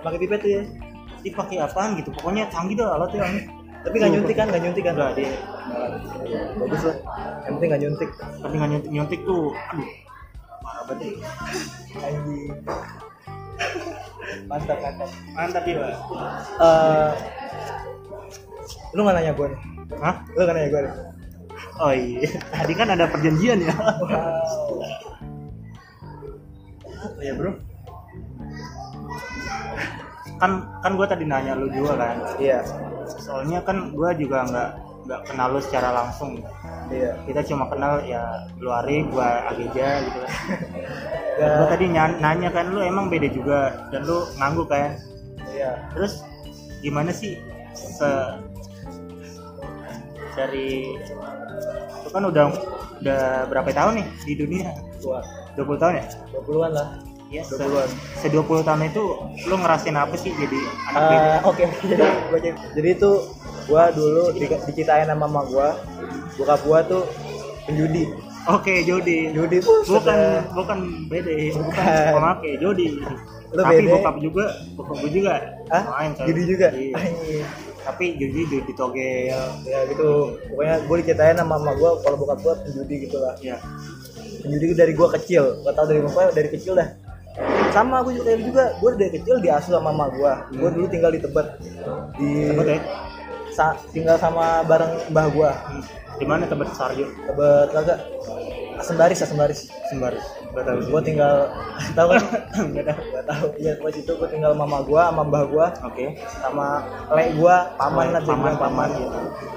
Pakai pipet tuh ya. dipakai apaan gitu pokoknya canggih dah alatnya Tapi nggak nyuntik kan, nggak nyuntik kan? enggak dia Iya, Bagus lah. Yang penting nggak nyuntik. tapi nggak nyuntik nyuntik tuh aduh parah banget ya. Anjing. Mantap mantap. mantap ya Pak. Eh, lu nggak nanya gue nih? Hah? Lu nggak nanya gue nih? oh iya tadi kan ada perjanjian ya Wow. Apa ya bro? kan kan gue tadi nanya lu juga kan Iya. soalnya kan gue juga nggak nggak kenal lu secara langsung Iya. kita cuma kenal ya lu Ari gue Ageja gitu kan gue Gak. tadi nya- nanya kan lu emang beda juga dan lu ngangguk kan Iya. terus gimana sih se dari itu kan udah udah berapa tahun nih di dunia Gua 20 tahun ya 20-an lah. Iya, se, 20-an. se 20 tahun itu lu ngerasain apa sih jadi anak beda? Eh, Oke, jadi gua cek. jadi itu gua dulu di, diceritain sama mama gua, bokap gua tuh penjudi. Oke, Jody. Penjudi tuh Bukan sudah- bukan beda, ya, bukan Bukan. pemakai Jody. Lu Tapi beda. bokap juga, bokap gue juga. Hah? Main coy. Judi juga. Iya. Anjing. Tapi Jody Jody togel. Ya gitu. Pokoknya gua diceritain sama mama gua kalau bokap gua penjudi gitu lah. Ya. Penjudi dari gua kecil. Gua tau dari bapak dari kecil dah. Sama aku juga kayak gitu juga. Gua dari kecil diasuh sama mama gua. Gua dulu tinggal di Tebet. Di Tebet ya? sa- tinggal sama bareng mbah gua. Hmm. Di mana Tebet Sarjo? Tebet kagak Asembaris, Asembaris. Sembar. Enggak tahu sih. gue tinggal tahu kan Nggak tahu. gak tahu ya pas itu gue tinggal mama gue sama mbah gue Oke. sama lek gue paman Lek, lah bisa paman, dibilang paman.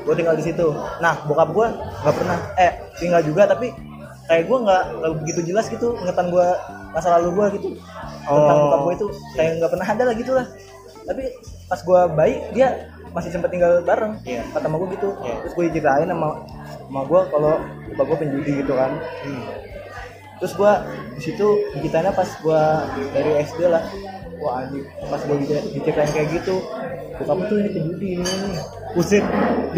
gue tinggal di situ nah bokap gue nggak pernah eh tinggal juga tapi kayak gue nggak nggak begitu jelas gitu ngetan gue masa lalu gue gitu tentang Oh. bokap gue itu kayak nggak pernah ada lah gitu lah tapi pas gue bayi dia masih sempat tinggal bareng Iya. kata sama gue gitu Iya. terus gue diceritain sama sama gue kalau bokap gue penjudi gitu kan Hmm. terus gua di situ gitana pas gua dari SD lah wah anjing pas gua dicer- diceritain kayak gitu bokap tuh ini penjudi ini ini ini." Usir.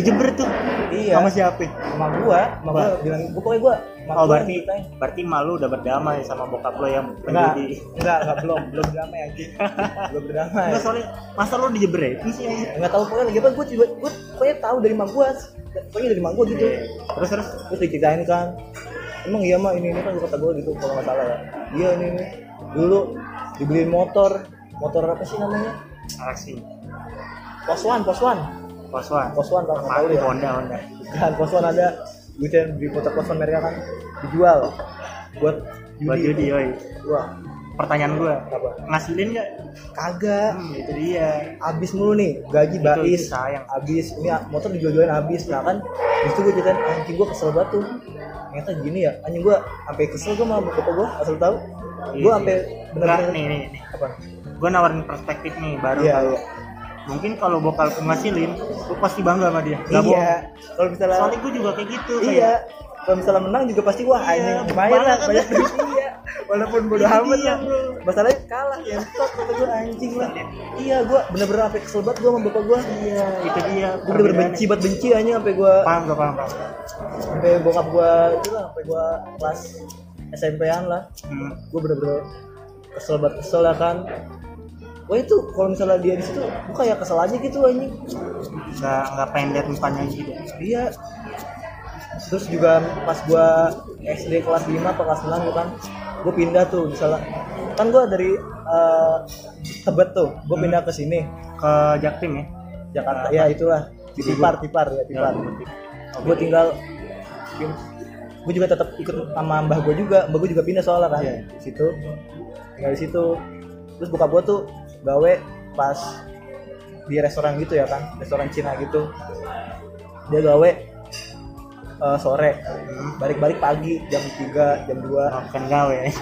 Dijebret tuh. iya Sama siapa? sama gua sama gua bilang gua pokoknya gua sama Oh, gua berarti diceritain. berarti malu udah berdamai sama bokap lo yang enggak menjadi enggak enggak belum belum berdamai anjing belum berdamai Enggak soalnya masa ya? lo dijebretin sih anjing? enggak tahu pokoknya lagi apa gua juga gua pokoknya tahu dari mak gua pokoknya dari mak gua gitu Terus terus terus diceritain kan emang iya mah ini ini kan kata gue gitu kalau nggak salah ya iya ini ini dulu dibeliin motor motor apa sih namanya Alexi, poswan poswan Poswan, poswan kalau nggak tahu Aku ya Honda Honda. bukan poswan ada gue di kota poswan mereka kan dijual buat Buat judi judi, ya. oi. wah Pertanyaan gua, apa ngasilin nggak? kagak Hmm, itu dia. abis mulu nih gaji itu bais sayang. abis ini motor dijual-jualin abis nah kan Habis itu gue ceritain anjing gue kesel banget tuh ternyata gini ya anjing gue sampai kesel gue sama bapak gue asal lu tahu gue Iya, sampai iya. Nggak, benar-benar nih nih nih. apa Gua nawarin perspektif nih baru. iya tahu. iya Mungkin kalau bokal gua ngasilin, gua pasti bangga sama dia. Nggak iya bohong. kalau misalnya Soalnya gua juga kayak gitu. kayak, iya kalau misalnya menang juga pasti wah Iya, anjing lumayan lah banget. banyak duit iya walaupun bodo Iya, amat lah bro. masalahnya kalah ya stop kata gue anjing lah iya gue bener-bener sampai kesel banget gue sama bapak gue iya Itu dia. gue bener-bener benci banget benci aja sampai gue Paham gak paham? paham. sampai bokap gue itu lah sampai gue kelas SMP-an lah Hmm. gue bener-bener kesel banget kesel lah kan Wah itu kalau misalnya dia di situ, gue kayak kesel aja gitu anjing. Nggak nggak pengen lihat mukanya gitu. Iya. Terus juga pas gua SD kelas 5 atau kelas 6 gitu kan, gua pindah tuh misalnya kan gua dari eh, Tebet tuh, gua pindah ke sini Ke Jaktim ya. Jakarta. Ya itulah di Tipar, Tipar ya Tipar. Gua tinggal gue juga tetap ikut sama mbah gue juga, mbah gue juga pindah soalnya kan Iya. di situ. Tinggal di situ. Terus buka gua tuh gawe pas di restoran gitu ya kan, restoran Cina gitu. Dia gawe eh, sore Hmm. balik-balik pagi jam 3, jam 2 Makan gawe. ya.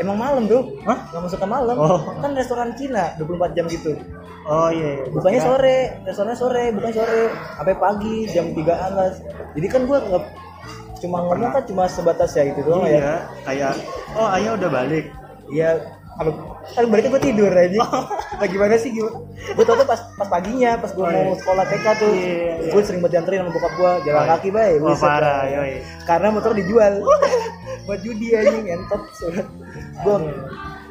emang malam bro Hah? nggak masuk ke malam Oh. kan restoran Cina 24 jam gitu Oh iya. iya. Gua bukannya kira- sore restorannya sore bukan sore sampai pagi jam 3an lah jadi kan gua nggak cuma ngomong kan cuma sebatas ya gitu doang ya Iya, kayak oh ayah udah balik. iya kalau kan berarti gua tidur aja Oh. bagaimana sih gimana gua tau tuh pas pas paginya pas gua Oh, mau iya. sekolah TK tuh Iya, iya, iya. gua sering banget dianterin sama bokap gua jalan Oh, iya. kaki bay Wah buset, parah, bay. yoi. karena motor dijual buat judi anjing entot gue Iya.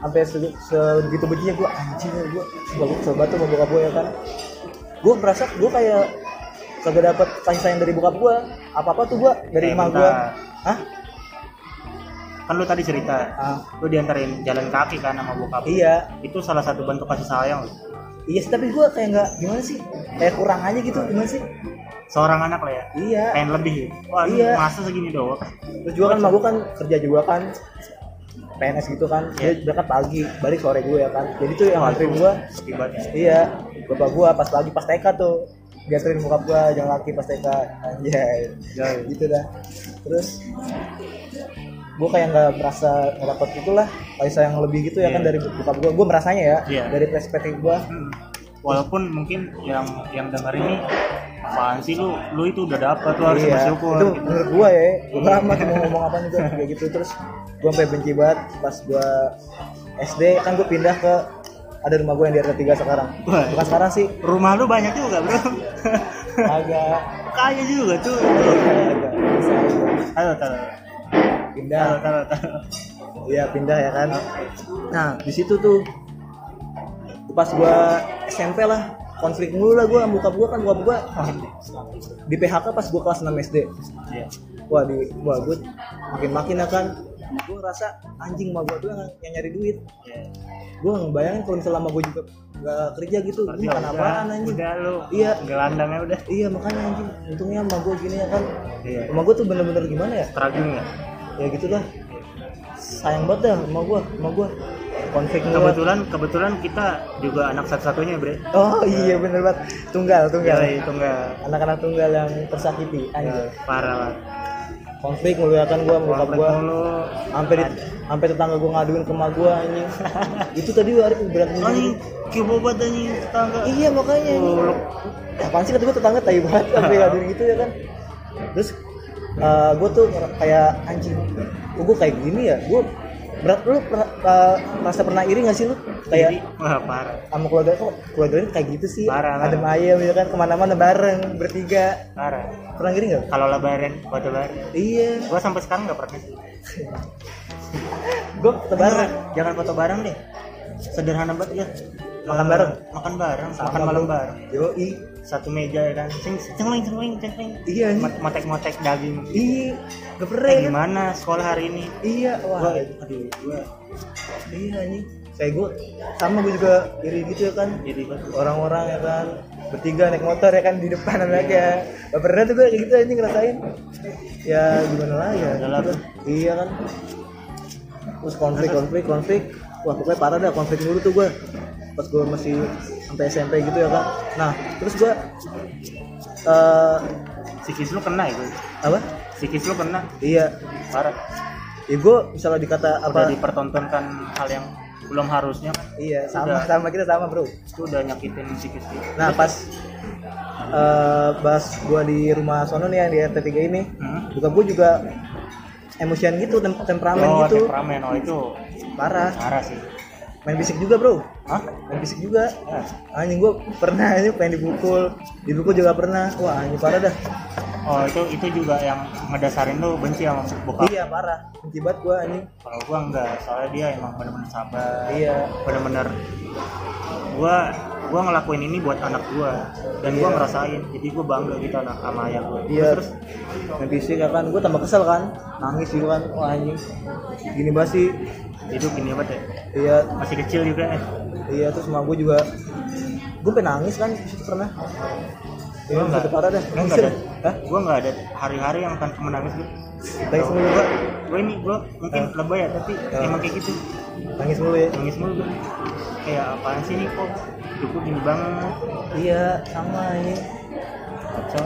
sampai se sebegitu beginya gue anjing gue gue kesel banget tuh sama bokap gue ya kan gue merasa gue kayak kagak dapet kasih sayang dari bokap gua apa apa tuh gua dari Eh, emak bentar. gua Hah? kan lu tadi cerita Ah, lu diantarin jalan kaki kan sama bokap iya itu salah satu bentuk kasih sayang loh. iya sih tapi gua kayak nggak gimana sih kayak kurang aja gitu gimana sih seorang anak lah ya iya pengen lebih gitu. wah ini Iya. masa segini doang terus juga kan emak gua kan kerja juga kan PNS gitu Iya. kan dia berangkat pagi balik sore gue ya kan jadi tuh yang nganterin gua tiba-tiba Iya, bapak gua pas lagi pas TK tuh diaturin bokap gua jangan laki pas TK anjay Anjay. gitu dah terus gua kayak nggak merasa ngedapat itulah kayak sayang lebih gitu ya Iya. kan dari bokap gua gua merasanya ya Iya. dari perspektif gua Hmm. walaupun mungkin yang yang denger ini apaan sih lu lu itu udah dapat lu harus iya bersyukur itu gitu. menurut gua ya gua lama mau ngomong apa juga kayak gitu terus gua sampai benci banget pas gua SD kan gua pindah ke ada rumah gua yang di RT 3 sekarang Wah. bukan sekarang sih rumah lu banyak juga bro agak kaya juga tuh agak bisa gitu. taruh taruh pindah taruh taruh taruh Iya pindah ya kan. Nah di situ tuh pas gua SMP lah konflik mulu lah gua muka gua kan gua gua di PHK pas gua kelas 6 SD. Iya. Wah di wah gua makin makin akan gua rasa anjing mah gua tuh yang, yang nyari duit. Iya. Gua ngebayangin kalau selama gua juga nggak kerja gitu Berarti ini kan udah- apaan anjing. udah lu Iya. gelandangnya udah Iya makanya anjing untungnya sama gua gini ya kan. iya Sama gua tuh bener-bener gimana ya? struggling ya Ya gitulah. Sayang banget dah sama gua, sama gua. Konflik mulu. kebetulan kebetulan kita juga anak satu-satunya bre Oh iya bener banget tunggal tunggal Gila itu enggak anak-anak tunggal yang tersakiti Iya. anjir parah lah konflik meluakan gua muka konflik gua mulu sampai di- sampai tetangga gua ngaduin ke emak gua anjing itu tadi gua hari berantem sama anjing kibobat anjing tetangga dia. iya makanya ini Buluk. apaan sih kata gua tetangga tai banget sampai ngaduin gitu ya kan terus eh, gua tuh ngerasa kayak anjing kok gua kayak gini ya gua berat lu pernah eh, merasa pernah iri gak sih lu kayak Jadi, wah parah sama keluarga kok keluarga ini kayak gitu sih Parah, ada ayam ya kan kemana-mana bareng bertiga parah pernah gini nggak? kalau lebaran buat lebaran Iya. gua sampai sekarang nggak pernah sih Gue foto bareng. jangan foto bareng deh sederhana banget ya Makan bareng? makan bareng Sama makan malam gua. bareng Yoi. satu meja ya kan ceng cengling cengling cengling Iya. anjing. motek motek daging Iya. Eh, Geprek. gimana sekolah hari ini Iya. gua Wah. aduh gua Iya anjing. Kayak gue sama gue juga iri gitu ya kan. jadi banget Orang-orang ya kan bertiga naik motor ya kan di depan Iya. anaknya. Bapernya tuh gue kayak gitu anjing ngerasain. Ya gimana lah ya. Udah lah, gitu. Iya kan. Terus konflik konflik konflik. Wah pokoknya parah dah konflik dulu tuh gue pas gue masih sampai SMP gitu ya kan. Nah terus gue eh psikis lu kena ya gua apa psikis lu kena iya parah ya gue misalnya dikata udah apa dipertontonkan hal yang belum harusnya kan iya sama Udah. sama kita sama bro itu udah nyakitin psikis lu nah pas eh pas gue di rumah sono nih yang di RT 3 ini hmm? buka gue juga emosian gitu tem- temperamen oh, gitu temperamen oh itu parah parah sih main fisik juga bro Hah? main fisik juga Ya. anjing gue pernah anjing pengen dipukul dipukul juga pernah wah anjing parah dah Oh itu itu juga yang ngedasarin lu benci sama bokap. iya parah akibat gue anjing Kalau gua enggak, soalnya dia emang bener-bener sabar. iya Bener-bener gua gua ngelakuin ini buat anak gua dan gua Iya. ngerasain. Jadi gua bangga gitu anak sama ayah gua. Iya. Terus, Main fisik ya kan, gue tambah kesel kan, nangis juga kan, wah anjing, gini banget sih, terus hidup gini banget ya. iya, Masih kecil juga ya. iya terus sama gue juga, gue pengen nangis kan di situ pernah, Lu ya, enggak? satu parah dah, Lu enggak ada? Hah? Gua enggak ada hari-hari yang tanpa menangis gua. nangis mulu gue, Gua ini gua mungkin Eh. lebay ya, tapi Eh. emang kayak gitu. nangis mulu ya, Nangis mulu gua. Kayak apaan sih nih kok hidup gua gini banget. iya sama ini, So,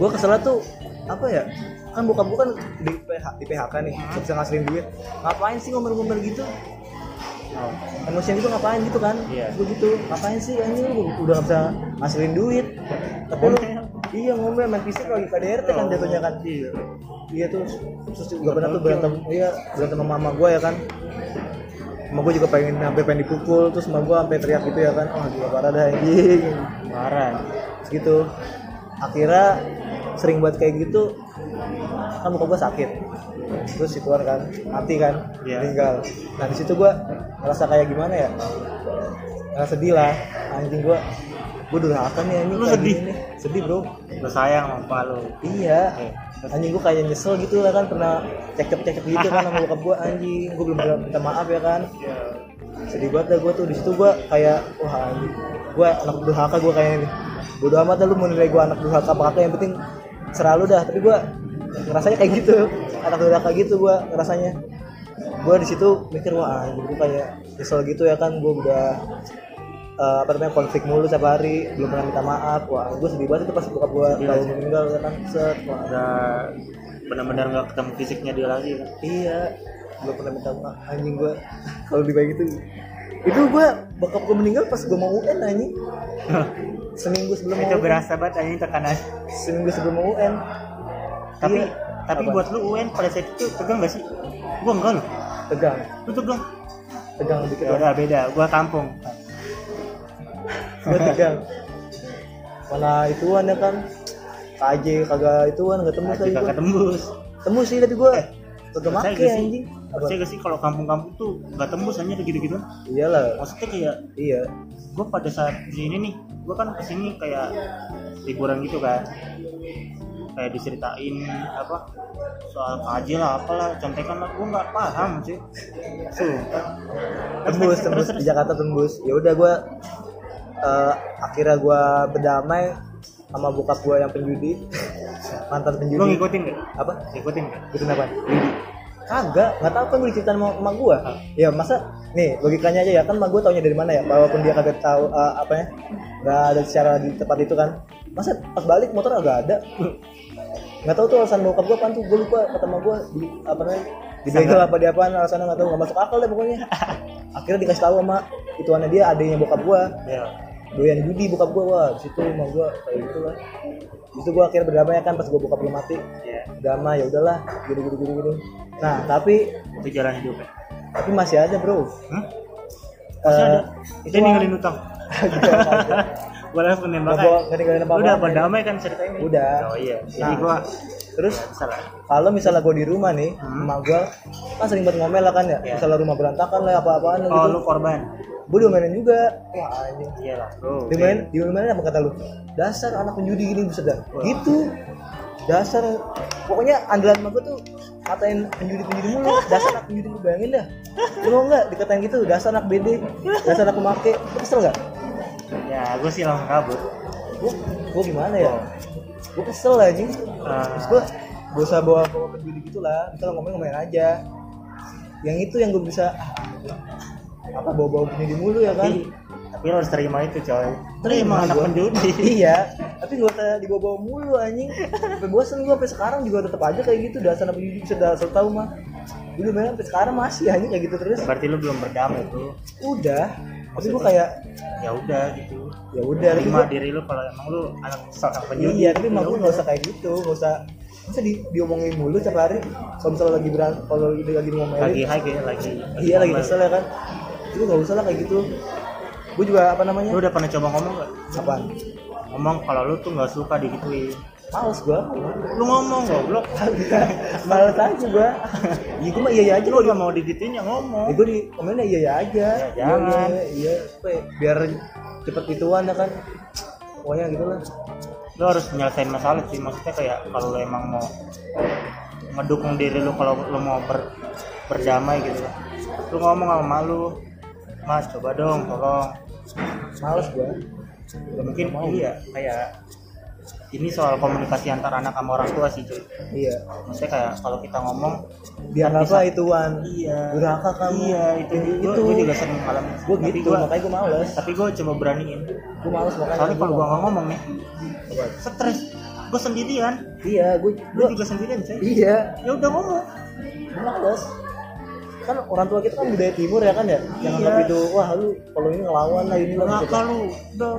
gue kesel tuh apa ya, kan bokap gue kan di, PH, di PHK nih, nggak bisa ngasilin duit, ngapain sih ngomel-ngomel gitu, oh. emosian gitu ngapain gitu kan Iya. Gua gitu ngapain sih anjing lu udah gak bisa ngasilin duit tapi lu Ngomel. iya ngomel main fisik lagi KDRT kan jatuhnya kan Iya. iya tuh terus juga pernah tuh berantem iya berantem sama mama gue ya kan mama gue juga pengen hampir pengen dipukul terus mama gue sampai teriak gitu ya kan oh gila parah dah anjing Parah. Terus gitu akhirnya sering buat kayak gitu kan muka gue sakit terus si Tuhan kan mati kan Iya. meninggal nah di situ gue ngerasa kayak gimana ya ngerasa sedih lah anjing gue gue durhaka nih anjing Lu kayak sedih? gini. sedih bro lu sayang sama lu iya Oke. anjing gue kayak nyesel gitu lah kan pernah cekcok cekcok gitu kan sama bokap gue anjing gue belum bilang minta maaf ya kan sedih banget dah gue tuh di situ gue kayak wah anjing gue anak durhaka gue kayaknya nih bodo amat dah lu mau nilai gue anak durhaka apa kagak, yang penting selalu dah tapi gue ngerasanya kayak gitu anak durhaka gitu gue ngerasanya gue di situ mikir wah anjing gue kayak nyesel gitu ya kan gue udah eh, apa namanya konflik mulu setiap hari belum pernah minta maaf wah gue sedih banget itu pas bokap gue Sedih tahu banget. meninggal ya kan set wah udah benar-benar nggak ketemu fisiknya dia lagi kan Iya, gue pernah minta maaf anjing gue kalau dibagi itu. Itu gue bokap gue meninggal pas gue mau UN anjing. Seminggu sebelum itu mau UN. berasa banget anjing tekanan Seminggu sebelum mau UN. tapi Iya. tapi Apa? buat lu UN pada saat itu tegang gak sih gua enggak loh tegang, lu tegang tegang dikit ya udah beda gua kampung Gue tegang. Mana ituan ya kan? KJ kagak ituan nggak tembus Aji lagi kakak gue. Nah, tembus Tembus sih tapi gue kagak Eh, percaya make gak sih? anjing. Apa? percaya gak sih kalau kampung-kampung tuh gak tembus aja gitu-gitu Iyalah, maksudnya kayak iya. gue pada saat di sini nih gue kan kesini kayak liburan gitu kan kayak diceritain apa soal KJ lah apalah contekan lah gue nggak paham sih sumpah tembus Terus, terus, tembus terus. di Jakarta tembus ya udah gue akhirnya gue berdamai sama bokap gue yang penjudi mantan penjudi lu ngikutin gak? apa ngikutin gak? gitu apa kagak nggak tahu kan gue diceritain sama emak gue Ah. ya masa nih logikanya aja ya kan emak gue taunya dari mana ya walaupun dia kagak tahu eh, apa ya nggak ada secara di tempat itu kan masa pas balik motor agak ada nggak tahu tuh alasan bokap gue pantu gue lupa kata emak gue di apa namanya dibegal Sangat. apa di apaan alasannya nggak tahu nggak masuk akal deh pokoknya akhirnya dikasih tahu sama ituannya dia adanya bokap gue ya doyan judi bokap gue wah di situ emak gue kayak gitu lah Di situ gue akhirnya berdamai kan pas gue bokap gue mati ya drama ya udahlah gini gini gini gini nah tapi itu jalan hidup ya tapi masih ada bro Hah? Eh, ada? itu Gitu, dia ninggalin utang nggak gue langsung nembak bawa aja. nggak ninggalin apa Lu apa udah pada damai kan ceritanya Udah. oh iya jadi Nah. gue terus bisa lah kalau misalnya gue di rumah nih Hmm. emak gue kan sering banget ngomel lah kan ya Iya. misalnya rumah berantakan lah apa apaan lah oh gitu lu korban gue diomelin juga wah anjing iya lah bro diomelin diomelin apa kata lu dasar anak penjudi gini bisa dah Wah. gitu dasar pokoknya andalan emak gue tuh katain penjudi penjudi mulu dasar anak penjudi lu bayangin dah lu mau nggak dikatain gitu dasar anak BD dasar anak pemake lu kesel nggak ya gue sih langsung kabur gue gue gimana ya gue kesel anjing Ah. terus gue gak usah bawa bawa peduli gitu lah kita ngomong ngomongin aja yang itu yang gue bisa ah, apa bawa bawa penjudi mulu ya kan tapi tapi lo harus terima itu coy Terima anak gua. penjudi iya tapi gak usah dibawa bawa mulu anjing sampai bosan gue sampai sekarang juga tetap aja kayak gitu dasar anak penjudi bisa dasar tahu mah dulu memang sampai sekarang masih anjing kayak gitu terus berarti lu belum berdamai tuh udah tapi gue kayak ya udah gitu ya udah tapi terima gua- diri lu kalau emang lu anak seorang penjudi Iya, tapi emang Ya gue udah. nggak usah kayak gitu, nggak usah masa di, diomongin mulu tiap hari. Kalau misalnya lagi beran, kalau lagi lagi ngomelin, lagi lagi lagi iya lagi ngomel. kesel ya kan. Itu nggak usah lah kayak gitu. Gue juga apa namanya? lu udah pernah coba ngomong gak Apaan? ngomong kalau lu tuh nggak suka digituin Males gue. lu ngomong goblok Males aja gue. Iya, gue mah iya aja lu loh. udah mau digituin ya ngomong Ya, gue di komennya iya aja. Ya, jangan. Iya, iya, apa ya, biar cepet ituan ya kan. Pokoknya gitu lah. lu harus menyelesaikan masalah sih maksudnya kayak kalau lu emang mau ngedukung diri lu kalau lu mau ber- berdamai gitu lu ngomong sama emak lu mas coba dong tolong Males gue. ya, mungkin iya kayak ini soal komunikasi antara anak sama orang tua sih cuy Iya. maksudnya kayak kalau kita ngomong Dianggaplah ituan. iya Durhaka kamu. iya itu Itu. itu gue juga sering ngalamin Gue Tapi gitu, gua- makanya gue males. tapi gue coba beraniin gue males makanya soalnya gua kalau gue nggak ngomong nih Apaan? stres gue sendirian iya gue lu juga sendirian cuy iya ya udah ngomong gue males kan orang tua kita kan budaya timur ya kan ya yang Iya. anggap itu wah lu kalau ini ngelawan lah ini lah gitu. Neraka lu udah udah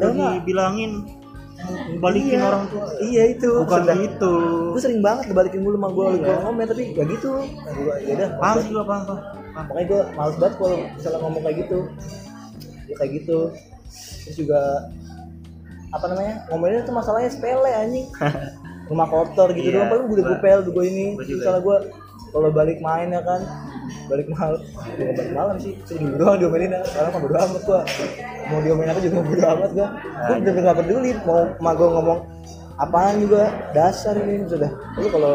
Padahal mah- dibilangin balikin Iya. orang tua. iya itu Bukan Sedang- gitu. gue sering banget dibalikin mulu sama gue Iya. kalau ngomel tapi ya gitu Nah, gua, ya udah Paham sih gua paham, paham. Paham. Nah, makanya gue males banget kalau misalnya ngomong kayak gitu ya kayak gitu terus juga apa namanya ngomelnya tuh masalahnya sepele anjing rumah kotor gitu Iya, doang paling gue udah gua- gupel gue ini gua juga. misalnya gue kalau balik main ya kan balik malam ya, balik malam sih sering doang diomelin orang mah bodo amat gua mau diomelin apa juga bodo amat gua Nah, gua iya. bener nggak peduli mau emak gua ngomong apaan juga dasar ini sudah lu kalau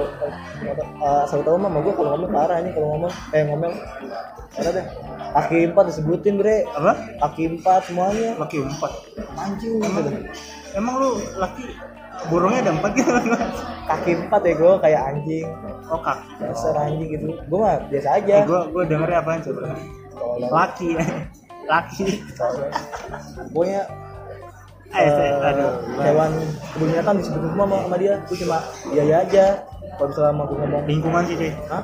uh, selalu tahu mah emak gua kalau ngomong parah ini kalau ngomong eh ngomel parah deh kaki empat disebutin bre apa kaki empat semuanya laki empat anjing sudah emang lu laki burungnya ada empat gitu kaki empat ya gua kayak anjing oh kaki dasar anjing gitu gua mah biasa aja eh, gua gua dengernya apaan coba Tolong. laki laki pokoknya eh saya- eh, aduh hewan kebun binatang disebut semua sama, sama dia gue cuma iya iya aja kalau misalnya mau gue ngomong lingkungan sih cuy Hah?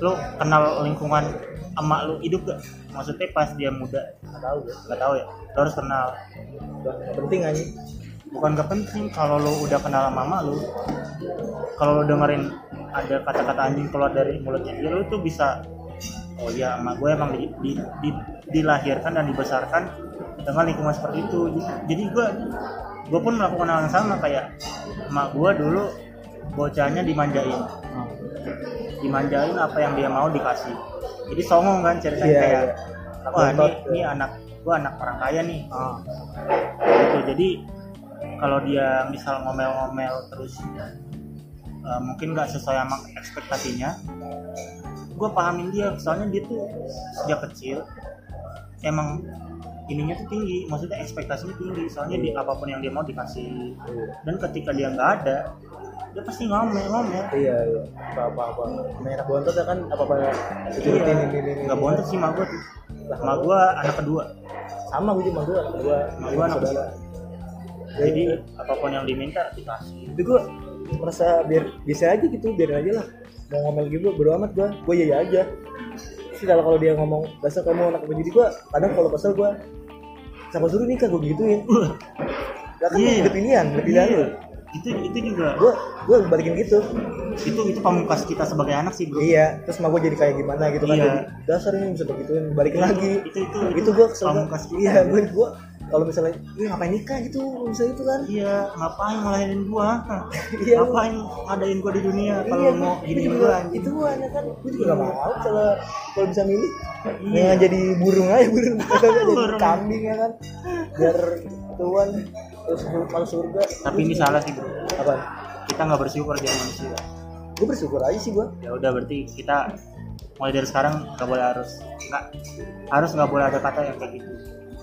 lu kenal lingkungan emak lu hidup gak maksudnya pas dia muda nggak tahu gue nggak tahu ya lu harus kenal udah nggak penting aja bukan gak penting kalau lu udah kenal sama emak lu kalau lu dengerin ada kata-kata anjing keluar dari mulutnya dia lu tuh bisa oh ya emak gue emang di- di- di- dilahirkan dan dibesarkan dengan lingkungan seperti itu jadi gue gue pun melakukan hal yang sama kayak emak gue dulu bocahnya dimanjain dimanjain apa yang dia mau dikasih jadi songong kan ceritanya Iya, kayak iya. wah ini, Ngotot, ya. ini anak gue anak orang kaya nih ah gitu jadi kalau dia misal ngomel-ngomel terus eh, mungkin nggak sesuai sama ekspektasinya gue pahamin dia soalnya dia tuh sejak kecil emang ininya tuh tinggi maksudnya ekspektasinya tinggi soalnya di apapun yang dia mau dikasih dan ketika dia nggak ada dia pasti ngomel ngomel iya iya apa apa apa merah bontot ya kan apa apa diturutin ini ini ini Iya. nggak bontot sih mak gue tuh Lah, mak gue anak kedua sama gue juga gue gue Sama gua anak saudara jadi apapun yang diminta dikasih itu gue merasa biar bisa aja gitu biar aja lah mau ngomel gitu bodo amat gue gue iya iya aja sih kalau kalau dia ngomong dasar kamu anak penjudi gue kadang kalau kesel gue siapa suruh nikah gue gituin Lah kan Iya. udah pilihan udah pilihan lu itu itu juga gue gue balikin gitu itu itu pamungkas kita sebagai anak sih bro iya terus mah gue jadi kayak gimana gitu kan Iya. jadi, dasar ini bisa begituin balikin Itu- lagi itu itu itu gue kesel banget. pamungkas kita. iya gue gue kalau misalnya iya ngapain nikah gitu misalnya itu kan iya ngapain ngelahirin gua Iya, lu. ngapain ngadain gua di dunia kalau Iya, mau gua gini juga- gua anjing itu gua anak kan gue juga gak mau kalau kalau bisa milih Iya. ya jadi burung aja burung kata gua jadi Burung. kambing ya kan biar tuan terus kalau surga tapi ini salah sih bro apa kita nggak bersyukur jadi manusia gue bersyukur aja sih gua ya udah berarti kita mulai dari sekarang nggak boleh harus nggak harus nggak boleh ada kata yang kayak gitu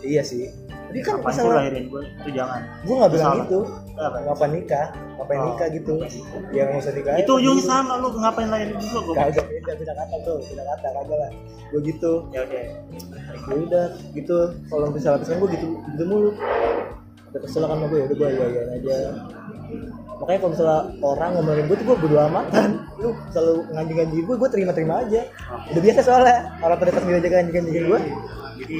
iya sih tapi kan ngapain sih masalah lahirin gua itu jangan gue gak bilang Salah. itu Apa? ngapain nikah ngapain Oh. nikah gitu yang mau usah nikah aja. itu ujungnya sama lu ngapain lahirin gua gua kagak beda beda kata tuh beda kata kagak lah gue gitu ya udah ya udah gitu kalau misalnya pesan gue gitu gitu mulu udah kesel kan sama gue ya udah gue iyain aja makanya kalau misalnya orang ngomelin gue tuh gue bodo amatan lu selalu nganjing nganjing gue gue terima terima aja udah biasa soalnya orang pada kesini aja nganjing nganjingin gue jadi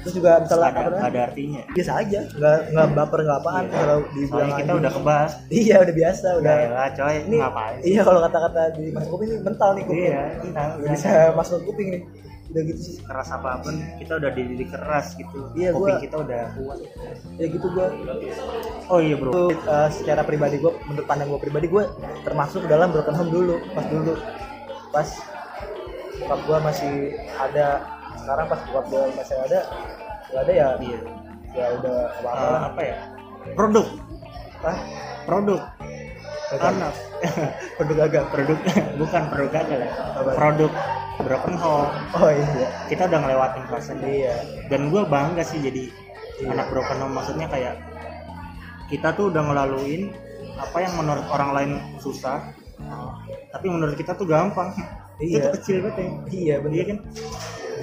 terus juga misalnya nggak apa ada, nggak namanya ada artinya biasa aja nggak nggak baper nggak apaan Iya. kalau dibilang soalnya kita anjing. udah kebahas iya udah biasa udah ya lah coy ini ngapain sih? iya kalau kata-kata di mas kuping ini mental nih kuping iya entah Nggak bisa masuk kuping nih udah gitu sih keras apapun kita udah dididik keras gitu Iya, kuping gua- kita udah kuat ya gitu gue oh iya bro Itu, uh, secara pribadi gue menurut pandang gue pribadi gue termasuk dalam broken home dulu pas dulu pas bokap gue masih ada sekarang pas bokap gue masih ada nggak ada ya iya ya udah apa apa Eh, lah apa ya produk ah produk anak produk agak produk bukan produk aja lah Apa? produk broken home oh iya kita udah ngelewatin prosesnya iya dan gue bangga sih jadi Iya. anak broken home maksudnya kayak kita tuh udah ngelaluin apa yang menurut orang lain susah tapi menurut kita tuh gampang itu Oh. Iya. tuh kecil banget ya iya iya bener kan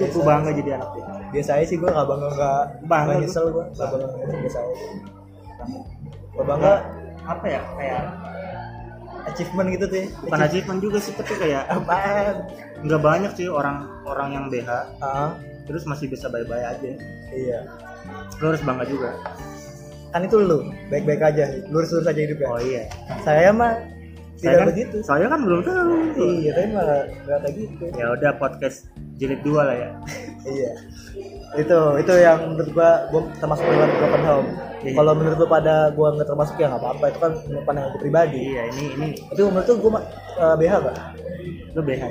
itu gue bangga jadi anak ya. dia biasa aja sih gue nggak bangga nggak Bangga nggak gua. nyesel gue nggak bangga nggak nyesel, biasa aja gue bangga apa ya kayak achievement gitu tuh ya. bukan achievement juga sih tapi kayak apaan nggak banyak sih orang orang yang BH ah terus masih bisa bye-bye aja iya lo harus bangga juga kan itu lu baik-baik aja lurus-lurus aja hidup ya oh iya saya mah tidak saya kan, begitu saya kan belum tahu iya tapi malah nggak kayak gitu ya udah podcast jilid dua lah ya iya itu itu yang menurut gua gua termasuk dalam broken home Iya. kalau menurut lu pada gua nggak termasuk ya nggak apa-apa itu kan menurut pandangan gua pribadi iya ini ini tapi menurut lu gua mah, eh, BH gak? lo BH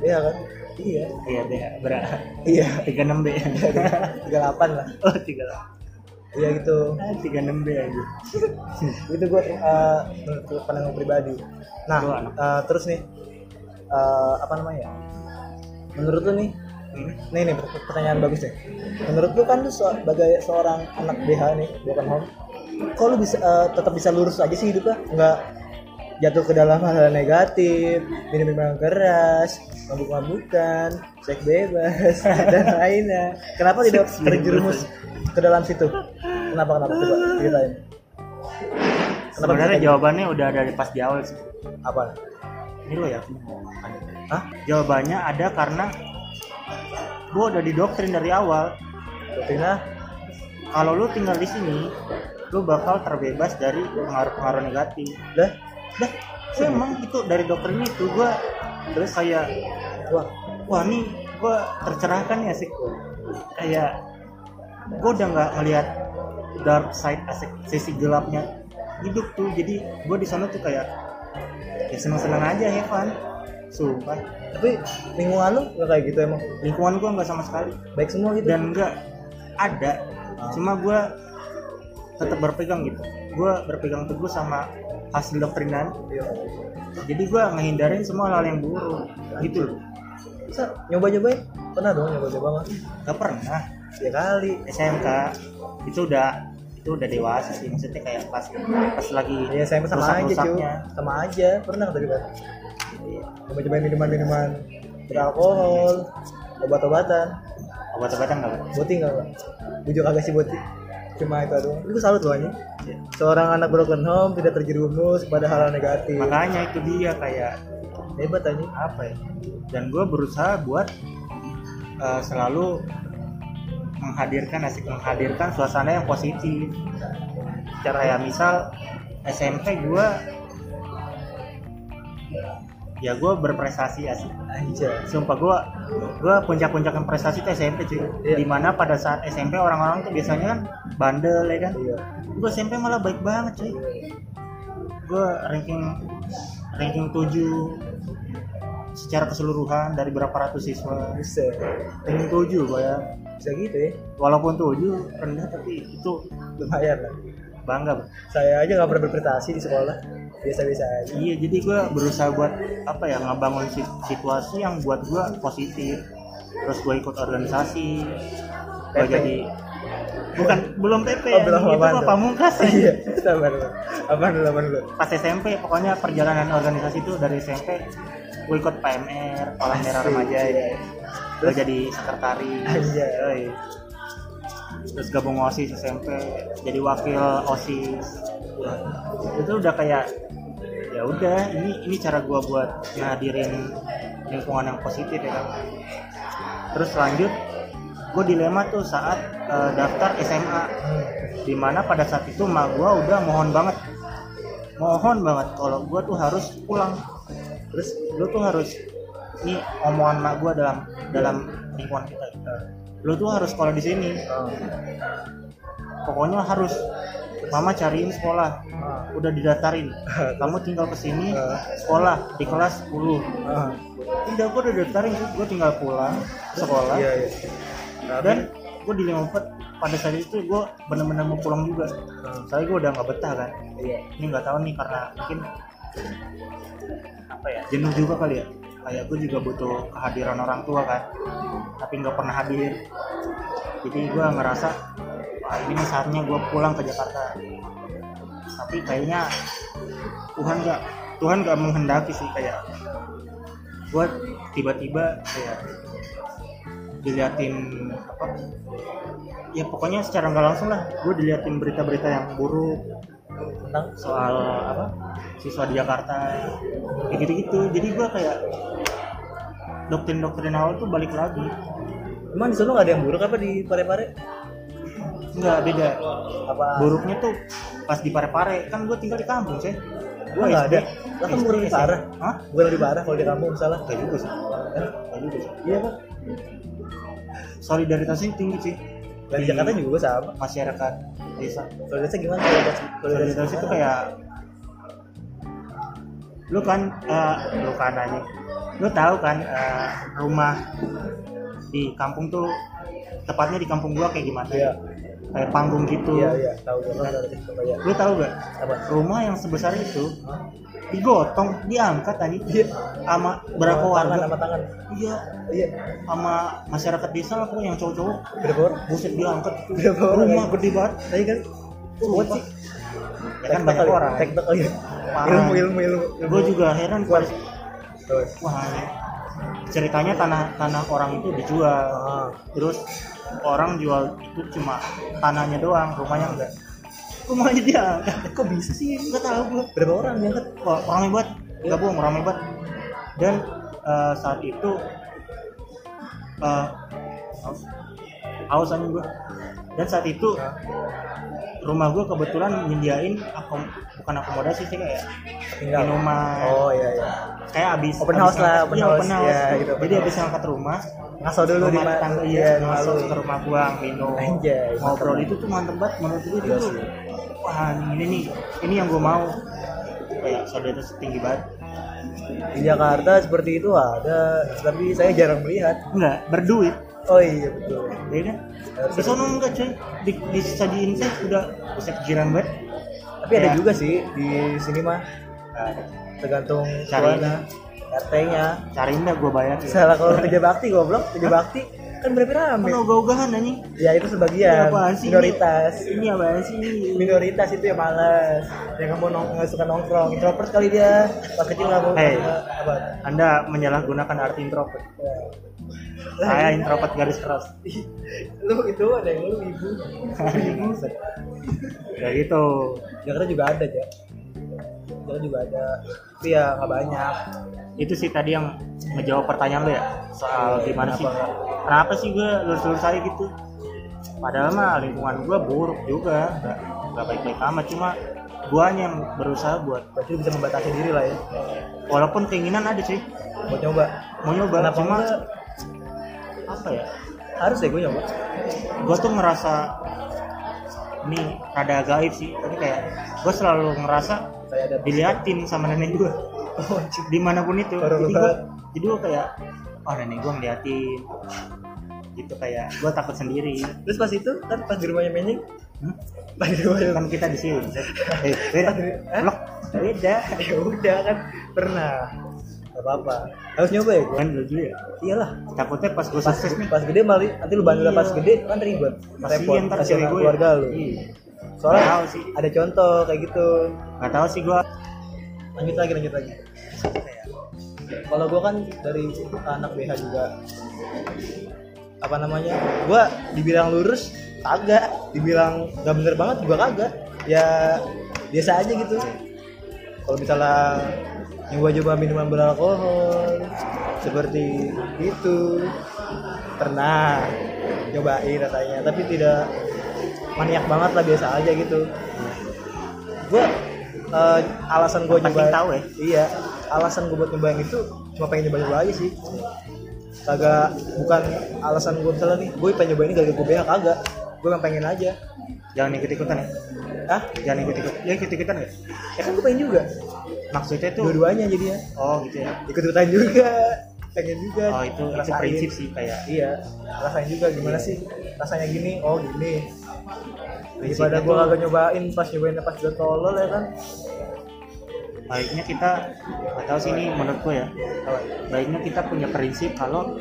BH kan Iya. Iya BH berapa? Iya. 36 B. 38 lah. oh 38. Iya gitu. Ah, 36 B aja. Itu gue eh menurut pandangan pribadi. Nah, Gua anak. eh, terus nih eh, apa namanya? Menurut lu nih, Hmm. nih nih pert- pertanyaan bagus nih. Menurut lu kan lu sebagai seorang anak BH nih, bukan home. Kok lu bisa eh, tetap bisa lurus aja sih hidupnya? Enggak jatuh ke dalam hal, -hal negatif, minum minuman keras, mabuk-mabukan, seks bebas dan lainnya. Kenapa tidak Seks bebas. terjerumus ke dalam situ? Kenapa kenapa coba ceritain? Kenapa Sebenarnya bisa- gitu? jawabannya udah dari pas di awal sih. Apa? Ini ya? lo yakin mau makan? Hah? Jawabannya ada karena gue udah didoktrin dari awal. Doktrina? Kalau lu tinggal di sini, lu bakal terbebas dari pengaruh-pengaruh negatif. Dah? Dah? Gue emang itu dari doktrin itu gue terus kayak Wah, wah nih gue tercerahkan ya sih kayak gue udah nggak ngelihat dark side asik sisi gelapnya hidup tuh jadi gue di sana tuh kayak ya seneng seneng aja ya fun sumpah tapi lingkungan lu nggak kayak gitu emang? lingkungan gue nggak sama sekali Baik semua gitu? dan nggak ada cuma gue tetap berpegang gitu gue berpegang teguh sama hasil doktrinan Iya. jadi gue ngehindarin semua hal yang buruk gitu loh Bisa nyoba-nyobain? Pernah dong nyoba-nyoba mah? nggak pernah Ya kali. SMK itu udah itu udah dewasa sih maksudnya kayak pas pas lagi Ya saya sama aja cuy. rusak-rusaknya. Iya. Sama aja. Pernah tadi kan? Nyoba-nyobain minuman-minuman beralkohol, obat-obatan. obat-obatan nggak Pak? Boti nggak Pak? Bujuk agak sih Boti. Cuma itu doang. Itu salut loh anjing. Iya. Seorang anak broken home tidak terjerumus pada hal negatif. makanya itu dia kayak Hebat anjing. apa ya dan gue berusaha buat eh, selalu menghadirkan asik menghadirkan suasana yang positif cara ya misal SMP gue ya gue berprestasi asik Anjay. sumpah gua gua puncak-puncak prestasi itu SMP cuy Iya. dimana pada saat SMP orang-orang tuh biasanya kan bandel ya kan Iya. gua SMP malah baik banget cuy gua ranking ranking 7 secara keseluruhan dari berapa ratus siswa Bisa. ranking 7 gua ya Bisa gitu ya. walaupun 7 rendah tapi itu Lumayan lah. bangga Bang. Saya aja nggak pernah berprestasi di sekolah. Biasa-biasa aja. iya jadi gua berusaha buat apa ya ngebangun sit- situasi yang buat gua positif terus gua ikut organisasi gua PP. jadi bukan belum PP Oh, ya belum, itu apaan mah tuh? pamungkas ya. Iya. Sabar lu. Apa dulu? Apa dulu? pas SMP pokoknya perjalanan organisasi itu dari SMP gua ikut PMR kolam merah Asik, remaja iya. ya gua jadi sekretaris Anjay. yoi. terus gabung osis SMP jadi wakil osis itu udah kayak ya udah ini ini cara gua buat ngadirin lingkungan yang positif ya kan terus lanjut gue dilema tuh saat eh, daftar SMA dimana pada saat itu emak gue udah mohon banget mohon banget kalau gue tuh harus pulang terus lu tuh harus ini omongan emak gue dalam dalam lingkungan kita gitu. lu tuh harus sekolah di sini Ah. pokoknya harus mama cariin sekolah Ah. udah didaftarin kamu tinggal kesini sekolah di kelas 10 Ah. udah gue udah daftarin gue tinggal pulang sekolah Iya iya. dan gue di lima empat pada saat itu gue bener-bener mau pulang juga soalnya gue udah nggak betah Ah. kan Iya. ini nggak tahu nih karena mungkin apa ya jenuh juga kali ya kayak gue juga butuh kehadiran orang tua kan tapi nggak pernah hadir jadi gue ngerasa wah ini nih saatnya gue pulang ke Jakarta tapi kayaknya Tuhan nggak Tuhan nggak menghendaki sih kayak gue tiba-tiba kayak diliatin apa ya pokoknya secara nggak langsung lah gue diliatin berita-berita yang buruk Tentang soal apa siswa di Jakarta kayak gitu-gitu jadi gua kayak doktrin-doktrin awal tuh balik lagi Emang di sono nggak ada yang buruk apa di Parepare? nggak beda Apa? buruknya tuh pas di Parepare kan gue tinggal di kampung sih gue Gua nggak ada. Lah kan SD, buruk lebih SMP. parah. Hah? Bukan lebih parah kalau di kampung misalnya. Gak juga sih Hah? Gak juga sih Iya pak. solidaritasnya tinggi sih Lah, Di Jakarta juga sama. masyarakat desa Kalau desa gimana? Kalau desa- Kalau solidaritas itu kayak lu kan eh, lu kan aja lu tahu kan eh, rumah di kampung tuh tepatnya di kampung gua kayak gimana Iya. kayak panggung gitu Iya, iya, tahu gua iya. pernah ada di Surabaya. lu tahu gak Apa? rumah yang sebesar itu Hah? digotong diangkat tadi Iya. sama berapa Sama tangan, warga sama tangan? iya Iya. sama masyarakat desa lah pokoknya yang cowok-cowok Berapa orang? buset diangkat Berapa orang rumah ya? gede banget Tadi kan kuat sih. ya kan banyak Teknik orang kali- teknik kali ya. Parah. Ilmu, ilmu, ilmu. ilmu. gue juga heran Kuat. pas Terus. wah ceritanya tanah tanah orang itu dijual Ah. terus orang jual itu cuma tanahnya doang rumahnya enggak rumahnya dia Kok bisa sih? enggak tahu gue Berapa orang yang angkat? Wah, ramai banget nggak bohong ramai banget dan eh, saat itu eh, aus- aus aja gue dan saat itu rumah gue kebetulan nyediain akom bukan akomodasi sih kayak Tinggal. Minuman. Oh iya iya. kayak abis Open abis house lah, ngangkat- open iya, house. open house. Iya, gitu, open jadi house. abis angkat rumah Ngaso dulu di rumah mana? tangga iya Iya, di masuk ke malu. rumah gua minum Anjay, ngobrol mantep. itu tuh mantep banget menurut gue Iya itu sih. wah ini nih ini yang gua mau kayak solidaritas tinggi banget Di Jakarta seperti itu ada, tapi saya jarang melihat. enggak berduit Oh iya betul. ya kan di sana enggak cuy di, di sajiin saya udah pusat jiran banget Tapi ada Iya. juga sih di sini mah nah, tergantung Cari. suara RT-nya. cariin dah gua bayar ya. Salah kalau kerja bakti goblok, kerja bakti kan Kan berapa ogah-ogahan anjing Ya itu Ini sebagian Iya, apaan sih? minoritas. ini apaan sih ini Minoritas itu yang malas, yang kamu nong nggak suka nongkrong, introvert kali dia. Pas kecil nggak mau Hey. nggak- apa? anda menyalahgunakan arti introvert Ya. saya introvert garis keras lu itu ada yang lu ibu. ya gitu Jakarta juga ada ya. Jakarta juga ada. Tapi ya nggak banyak. itu sih tadi yang ngejawab pertanyaan lo ya soal gimana sih Kenapa? kenapa sih gue lurus-lurus aja gitu padahal mah lingkungan gue buruk juga nggak nggak baik-baik amat cuma gue yang berusaha buat Berarti lu bisa membatasi diri lah ya. walaupun keinginan ada sih Buat nyoba. mau nyoba Kenapa cuma enggak? apa ya Harus deh gue nyoba. gue tuh ngerasa ini rada gaib sih tapi kayak gue selalu ngerasa Kayak ada diliatin sama nenek gue Oh, anjing. dimanapun itu Parah jadi gue banget. jadi gue kayak oh nenek gue ngeliatin gitu kayak gue takut sendiri Terus pas itu kan pas di rumahnya Menying, Hmm? pas di rumahnya kan kita di sini eh beda blok beda ya udah kan pernah. Gak apa-apa. Harus nyoba ya gue. kan dulu dulu ya Iyalah. takutnya pas gue Pas, sukses nih pas gede malah nanti lu bandel Iya. pas gede kan ribet. Repot. kasihan ntar Kasihan cewek gue keluarga lu. Iya. Soalnya Nggak tahu sih. ada contoh kayak gitu. nggak tahu sih gue Lanjut lagi lanjut lagi. Iya. Kalau gue kan dari anak BH juga apa namanya gue dibilang lurus kagak dibilang gak bener banget juga kagak ya biasa aja gitu kalau misalnya nyoba-nyoba minuman beralkohol seperti itu pernah nyobain rasanya tapi tidak maniak banget lah biasa aja gitu gue alasan gue Yang penting tahu ya. iya alasan gue buat nyobain itu cuma pengen nyoba-nyoba aja sih kagak bukan alasan gue misalnya nih gue pengen nyoba ini gara-gara gue BH kagak gue emang pengen aja jangan ikut ikutan ya ah jangan ikut ikut ya ikut ikutan ya ya kan gue pengen juga maksudnya tuh dua-duanya jadinya oh gitu ya ikut ikutan juga pengen juga oh itu itu Rasain. prinsip sih kayak iya rasain juga gimana sih rasanya gini oh gini Prinsipnya daripada gue tuh- kagak nyobain pas nyobain pas udah tolol ya kan baiknya kita nggak tahu sih ini menurut gue ya Apa? baiknya kita punya prinsip kalau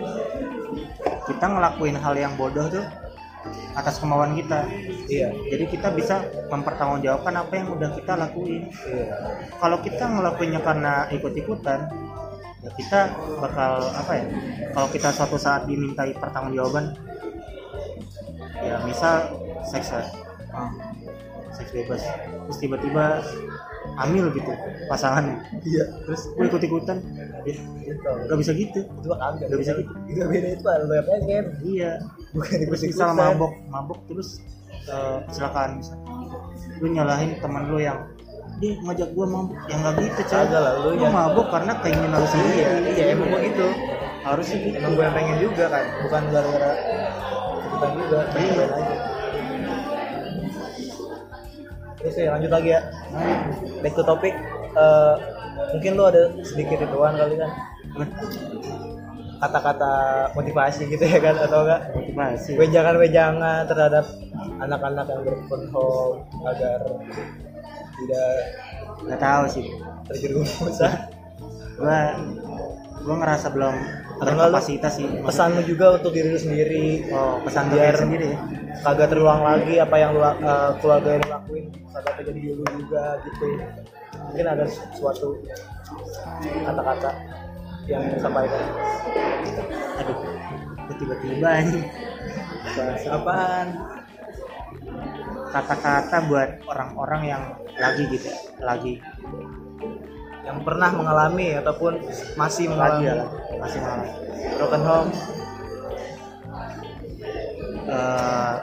kita ngelakuin hal yang bodoh tuh atas kemauan kita iya jadi kita bisa mempertanggungjawabkan apa yang udah kita lakuin iya kalau kita ngelakuinnya karena ikut-ikutan ya kita bakal apa ya kalau kita suatu saat dimintai pertanggungjawaban ya misal seks ya Ah, seks bebas terus tiba-tiba hamil gitu pasangannya iya terus gue ikut-ikutan ya, gitu nggak bisa gitu itu mah kagak Nggak bisa gitu. itu beda itu mah lu yang pengen iya bukan terus ikut-ikutan. misal mabok mabok terus eh, kecelakaan misal lu nyalahin teman lu yang dia ngajak gua mabok yang nggak gitu coy Kagak lah, lu lu yang- mabok karena keinginan lu sendiri iya iya emang gue gitu harusnya gitu emang gue yang pengen juga kan bukan gara-gara ikutan juga pengen Iya. nyobain aja terus ya lanjut lagi Nah, ya back to topic Eh, mungkin lu ada sedikit rituan kali kan kata-kata motivasi gitu ya kan atau enggak motivasi wejangan-wejangan terhadap anak-anak yang berpenhol agar tidak nggak tahu sih terjerumus ah. gua gua ngerasa belum Karena lu- terkapasitas sih pesan lu juga untuk diri lu sendiri oh pesan biar- biar sendiri ya kagak terulang lagi apa yang lu, eh, keluarga yang lu lakuin kagak terjadi di lu juga gitu mungkin ada suatu kata-kata yang disampaikan aduh gua tiba-tiba ini bahasa apaan kata-kata buat orang-orang yang lagi gitu ya, lagi yang pernah mengalami ataupun masih lagi mengalami ya masih malam broken home Eh,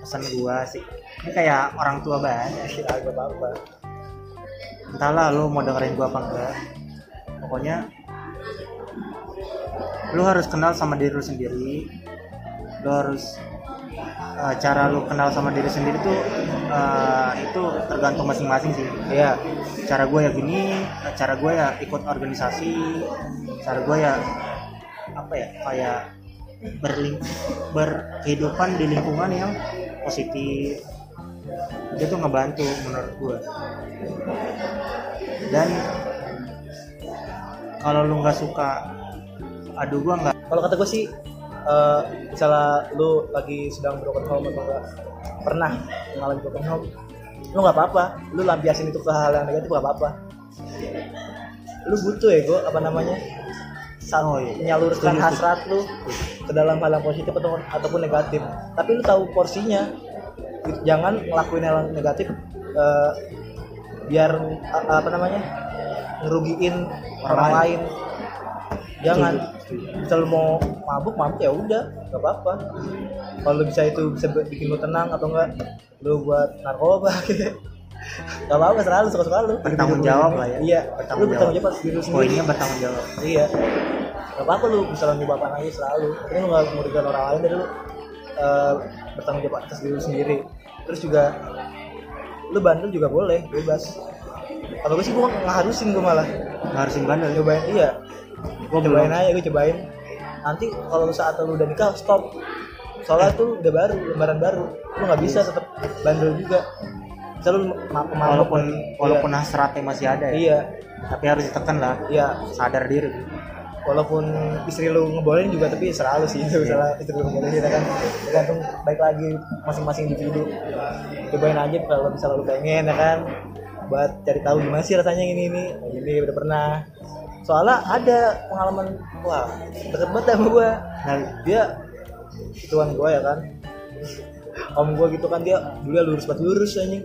pesan gua sih ini kayak orang tua banget ya agak apa entahlah lu mau dengerin gua apa enggak pokoknya lu harus kenal sama diri lu sendiri lu harus eh, cara lu kenal sama diri sendiri tuh eh, itu tergantung masing-masing sih iya cara gue ya gini cara gue ya ikut organisasi cara gue ya apa ya kayak berling berkehidupan di lingkungan yang positif itu tuh ngebantu menurut gue dan kalau lu nggak suka aduh gue nggak kalau kata gue sih eh, misalnya lu lagi sedang broken home atau enggak pernah mengalami broken home lu nggak apa-apa lu lampiasin itu ke hal yang negatif nggak apa-apa lu butuh ya gue apa namanya saat Oh, iya. menyalurkan Setuju, setuju. hasrat lu ke dalam hal yang positif atau ataupun negatif tapi lu tahu porsinya Gitu, jangan ngelakuin hal yang negatif eh, biar a- apa namanya ngerugiin orang, Orang lain. jangan Setuju, kalau mau mabuk mabuk ya udah nggak apa-apa kalau lu bisa itu bisa bu- bikin lu tenang atau enggak lu buat narkoba gitu nggak apa-apa selalu suka-suka lu Bertanggung jawab lah ya. iya lu Bertanggung bertanggung jawab jawab. atas diri lu sendiri poinnya bertanggung jawab iya nggak apa-apa lu bisa nyoba apa aja selalu ini lu nggak merugikan orang lain dari lu eh, bertanggung jawab atas diri lu sendiri terus juga lu bandel juga boleh bebas kalau gue sih gue ngeharusin gue malah nggak harus bandel cobain iya gue gue belum cobain aja gue cobain nanti kalau saat lu udah nikah stop soalnya tuh udah baru lembaran baru lu nggak bisa tetap bandel juga misal lu ma- mabok Iya. walaupun iya. walaupun hasratnya masih ada ya iya tapi harus ditekan lah iya sadar diri walaupun istri lu ngebolehin juga tapi selalu sih itu salah istri lu ngebolehin kita kan tergantung baik lagi masing-masing individu cobain aja kalau misalnya lu pengen ya kan buat cari tahu gimana sih rasanya yang ini ini Oh, ini udah pernah soalnya ada pengalaman wah deket banget sama gua nah, dia tuan gua ya kan om gua gitu kan dia dulu ya lurus banget lurus anjing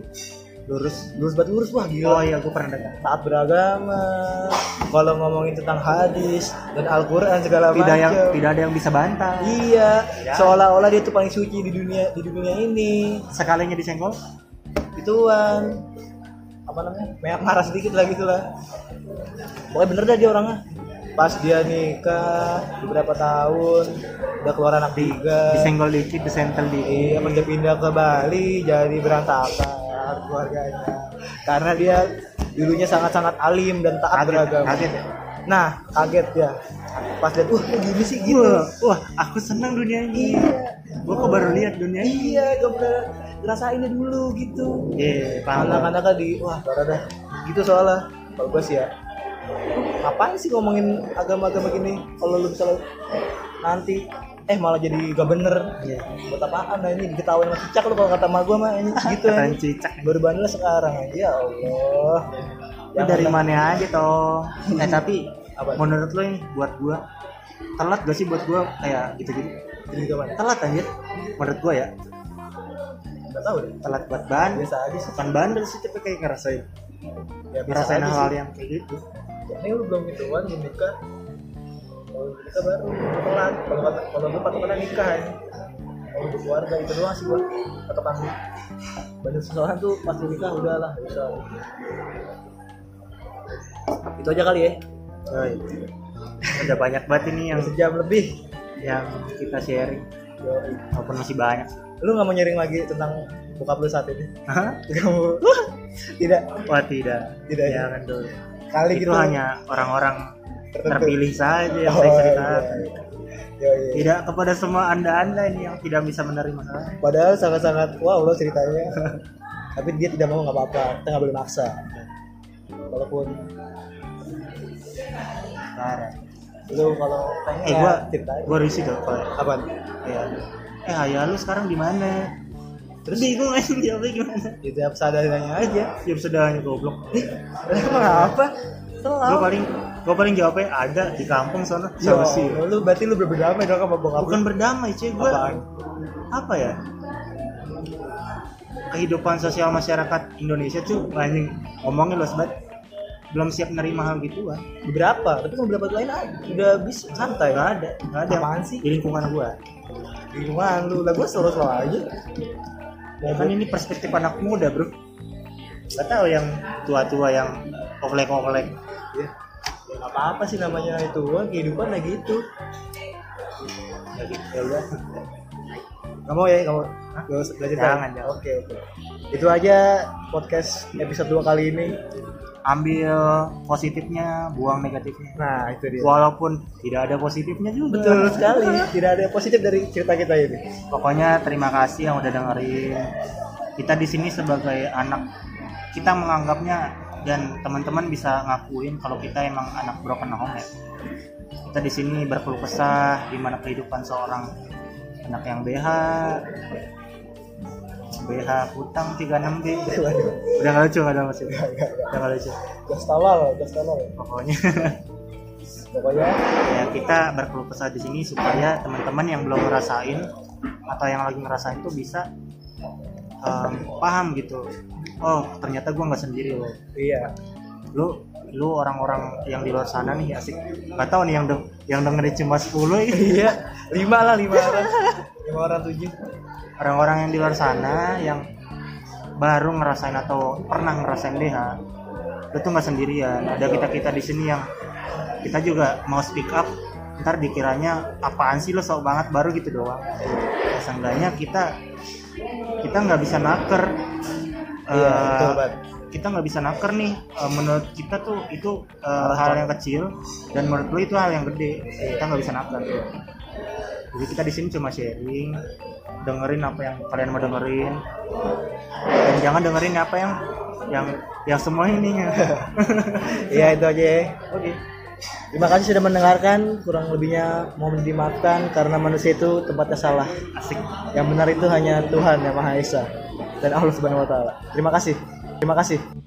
lurus lurus banget lurus wah gila oh iya gue pernah dengar taat beragama kalau ngomongin tentang hadis dan Al-Qur'an segala tidak yang macam tidak ada yang bisa bantah iya Tidak. seolah-olah dia tuh paling suci di dunia di dunia ini sekalinya disenggol ituan apa namanya Mer- marah sedikit lah gitu lah pokoknya bener dah dia orangnya pas dia nikah beberapa tahun udah keluar anak tiga disenggol dikit disentel dikit Iya, pas dia pindah ke Bali jadi berantakan keluarganya karena dia dulunya sangat-sangat alim dan taat beragama. kaget ya Nah, kaget ya. Pas lihat, wah kok gini sih gitu. wah, wah aku senang dunia ini gue kok baru lihat dunia ini Iya, gak pernah ngerasainnya dulu gitu. iya paham Anak-anak kan di, wah parah dah. Gitu soalnya. Kalau gue sih ya, apaan sih ngomongin agama-agama gini? Kalau lu bisa nanti, eh malah jadi gak bener. Iya. Buat apaan nah ini diketawain sama cicak lu kalau kata sama gue mah ini gitu Kata ya. cicak baru bandel sekarang ya Allah Lu dari mana aja toh eh tapi Ya, Apa? menurut lo ini buat gue telat gak sih buat gue kayak gitu gitu dari mana telat anjir menurut gue ya nggak tahu deh telat buat bandel biasa aja sih bukan bandel sih tapi kayak ngerasain ya biasa ngerasain aja hal-hal sih yang kayak gitu ini lu belum ituan belum nikah kalau kita baru pelan kalau kata kalau gue patokannya nikah ya kalau untuk keluarga itu doang sih gua patokan banyak seseorang tuh pas lu nikah udahlah bisa itu aja kali ya Oi. Udah Oh, iya. banyak banget ini yang sejam lebih yang kita sharing Yoi. walaupun masih banyak. lu nggak mau nyaring lagi tentang bokap lu saat ini Hah? kamu tidak Wah tidak, Tidak, ya. jangan dulu. kali Itu gitu hanya orang-orang terpilih saja yang Oh, saya iya, ceritakan. iya. Yoi. Tidak kepada semua anda-anda ini yang tidak bisa menerima saya. Padahal sangat-sangat wow loh ceritanya. Tapi dia tidak mau nggak apa-apa, kita nggak boleh maksa. Walaupun Parah. lu kalau pengen Eh gua Ya, ceritain gua risih tuh kalau apaan? ya. Eh ayah lu sekarang di mana? Terus bingung aja jawabnya gimana? Ya, tiap sadarnya aja. Siap sedahnya goblok. Nih, Emang apa? gua Selalu. paling gua paling jawabnya ada di kampung sana Yo, sama sih. Ya lu berarti lu berberdamai dong sama bokap Bukan berdamai cuy lu. gua Apaan? apa ya? Kehidupan sosial masyarakat Indonesia tuh anjing ngomongin lu sebat belum siap nerima hal gitu, gituan. Beberapa, tapi kan beberapa lain ada. Udah bisa santai. Gak ada, gak ada. Apaan sih? Di lingkungan gua. Gimana lu? Lah gua selalu-selalu aja. Ya kan ini perspektif anak muda, Bro. Gak tahu yang tua-tua yang oklek-oklek. Ya, ya nggak apa-apa sih namanya itu kan kehidupan lah gitu Ya gitu, ya udah. kamu ya kamu Hah? gak usah belajar Jangan, ya jangan. oke oke itu aja podcast episode 2 kali ini Ambil positifnya, buang negatifnya. nah itu dia Walaupun tidak ada positifnya juga. betul sekali tidak ada yang positif dari cerita kita ini Pokoknya terima kasih yang udah dengerin. Kita di sini sebagai anak kita menganggapnya dan teman-teman bisa ngakuin kalau kita emang anak broken home ya. Kita di sini berkeluh kesah gimana kehidupan seorang anak yang BH BH hutang 36B waduh udah nggak lucu nggak ada masih udah gak gak gak nggak lucu gas tawal gas tawal pokoknya pokoknya ya kita berkeluh kesah di sini supaya teman-teman yang belum ngerasain atau yang lagi ngerasain tuh bisa em, paham gitu oh ternyata gue nggak sendiri loh iya lu lu orang-orang yang di luar sana nih asik nggak tahu nih yang deng- yang dengerin cuma 10 ini. iya lima lah lima orang lima orang tujuh orang-orang yang di luar sana yang baru ngerasain atau pernah ngerasain BH lu tuh nggak sendirian ada kita kita di sini yang kita juga mau speak up ntar dikiranya apaan sih lo sok banget baru gitu doang ya, seenggaknya kita kita nggak bisa naker iya Eh, betul banget kita nggak bisa naker nih Eh, menurut kita tuh itu eh, hal yang kecil dan menurut lu itu hal yang gede kita nggak bisa naker jadi kita di sini cuma sharing dengerin apa yang kalian mau dengerin dan jangan dengerin apa yang yang yang semua ini iya itu aja ya oke Terima kasih sudah mendengarkan, kurang lebihnya mau dimaafkan karena manusia itu tempatnya salah. asik Yang benar itu hanya Tuhan yang Maha Esa dan Allah Subhanahu wa taala. Terima kasih. Terima kasih.